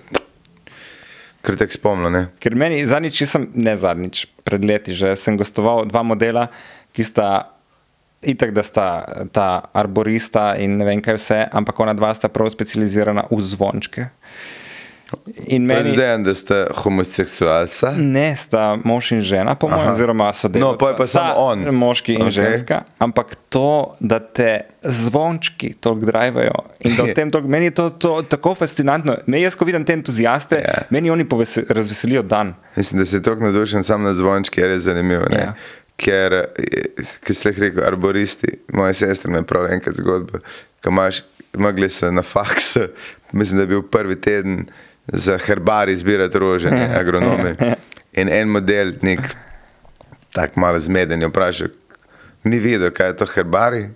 Ker te spomnim, ne. Ker meni zadnjič, jaz sem, ne zadnjič, pred leti že sem gostoval dva modela, ki sta itak, da sta ta arborista in ne vem kaj vse, ampak ona dva sta prav specializirana v zvončke. In meni Predvidevam, da ste homoseksualca. ne sta mož in žena, po mojem, Aha. oziroma so delali. No, pol je pa samo on. Moški in okay. Okej. ženska, ampak to, da te zvončki toliko drivajo in da v tem toliko, meni je to, to tako fascinantno. Me jaz, ko vidim te entuzijaste, Ja. yeah. meni oni povese, razveselijo dan. Mislim, da si tako nadušen sam na zvončki, je res zanimivo. Ja. Ja. ker, ki se lahko reče, arboristi, moja sestra mi je prav enkrat zgodbo, ki imaš, mogli se na faks, mislim, da je bil prvi teden za herbari zbirati rože, ne, agronomi. In en model, nek tak malo zmeden, je vprašal, ni vedel, kaj je to herbari.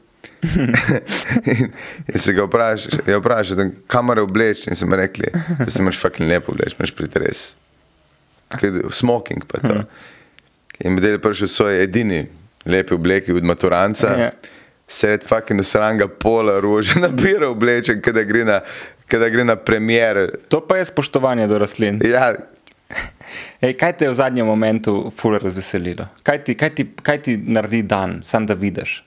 in, in se ga vprašal, je vprašal, kamor obleči. In so mi rekli, da se imaš fakli lepo obleči, imaš pritres. Kaj, Smoking pa to. In model je prišel v svoj edini lepi obleki od maturanca. Ja. Sred fucking osranga pola rože nabira oblečen, kada gre na, kada gre na premjer. To pa je spoštovanje do rastlin. Ja, Ej, kaj te je v zadnjem momentu ful razveselilo? Kaj ti, kaj, ti, kaj ti naredi dan, sam da vidiš?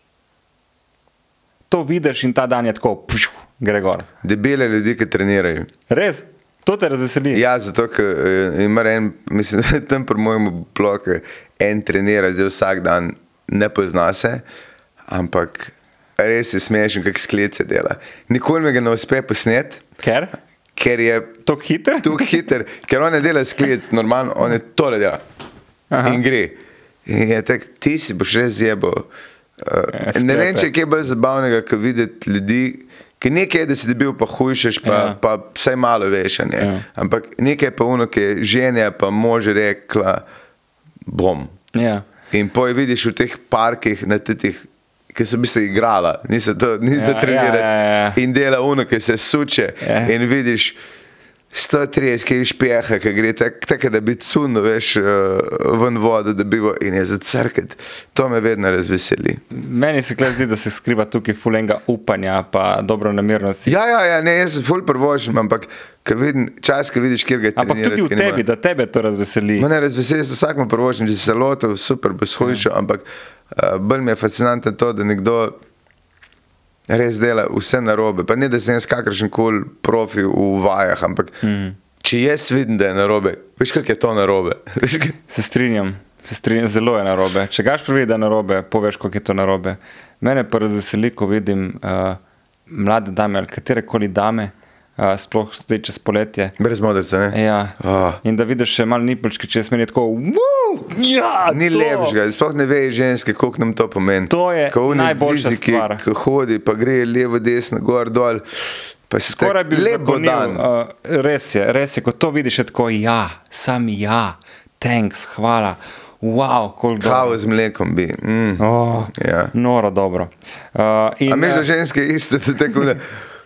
To vidiš in ta dan je tako, pšu, gre gor. debele ljudi, ki trenirajo. Res, to te razveseli. Ja, zato, ker eh, ima en, mislim, tam pri mojem bloku en trenira, zdaj vsak dan ne pozna se, ampak res je smešen, kak sklice dela. Nikoli mi ga ne uspe posnet, Ker? ker je Tako hiter? tu hiter, ker on ne dela sklic, normalno, on je tole dela Aha. Aha. in gre. In je tak, ti si boš res zjebal. Uh, Ja, ne vem, sklepe. če je kaj bolj zabavnega, kot videti ljudi, ki nekaj je, da si debil, pa hujšeš, pa, ja. Ja. pa vsaj malo veš. a ne. Ja. Ampak nekaj je pa uno, ki je ženja, pa mož rekla, bom. Ja. In poj vidiš v teh parkih, na teh, ki so v bistvu igrala, niso to, niso ja, Ja, trenirali. ja, ja, ja. In dela uno, ki se suče. Ja. Ja. In vidiš 130, ki je špeha, ki gre tako, tak, da bi cunil, veš, eh, ven vodo, da bi bil in je zacrkati. To me vedno razveseli. Meni se kle zdi, da se skriva tukaj fulenga upanja, pa dobro namernosti. Ja, ja, ja ne, jaz sem ful prvožen, ampak ko vidim, čas, ki vidiš, kjer ga ti Ampak tudi v tebi, da tebe to razveseli. Mene razveseli so vsakmo prvočem, če si se lotil, super, boš Ja. hujšal, ampak uh, bolj mi je fascinantno to, da nekdo res dela vse narobe. Pa ne, da sem jaz kakršen koli profi v vajah, ampak mm. Hmm. če jaz vidim, da je narobe, veš, kak je to narobe. Veš, kak... Se strinjam, se strinjam, zelo je narobe. Če gaš prvi, da je narobe, poveš, kako je to narobe. Mene pa razveseli, ko vidim uh, mlade dame ali katerekoli dame, uh, sploh zdaj čez poletje. Brez modrca, ne? Ja. Ah. In da vidiš še malo nipolčke, če jaz meni je tako, wow, ja, Ni to." lepšega, sploh ne ve ženske, koliko nam to pomeni. To je Ko oni najboljša zizi, ki- stvar. Ki hodi, pa gre levo, desno, gor, dol. Pa si Skoraj tak, bi lep bo zakonil, dan. Uh, res je, res je, ko to vidiš, je tako, ja, sam ja, thanks, hvala, wow, koliko Kavo z mlekom bi. Mm. Oh, Ja. Noro dobro. Uh, in, A meš, da eh, ženske isto, da tako da,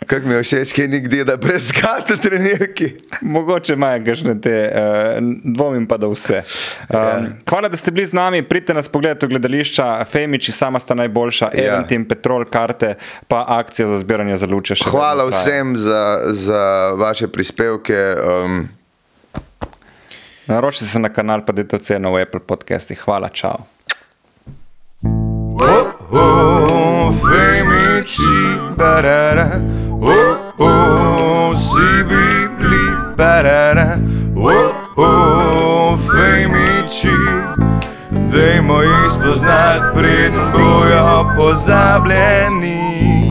kako mi je všeč, kaj nikde, da brez kata trenirki. Mogoče imajo kakšne te, uh, dvomim pa da vse. Um, Ja. yeah. Hvala, da ste bili z nami, pridite nas pogledati v gledališča, Femiči, sama sta najboljša, Ja. yeah. Eventim, Petrol, karte, pa akcija za zbiranje za luče. še Hvala vedno traja. vsem za, za vaše prispevke. Um, Naročite se na kanal, pa dajte oceno v Apple podcastih. Hvala, čau. oh, oh, femiči, barara, oh, oh, si bi bili, barara, oh, oh, femiči. Dajmo jih spoznati, preden bojo pozabljeni.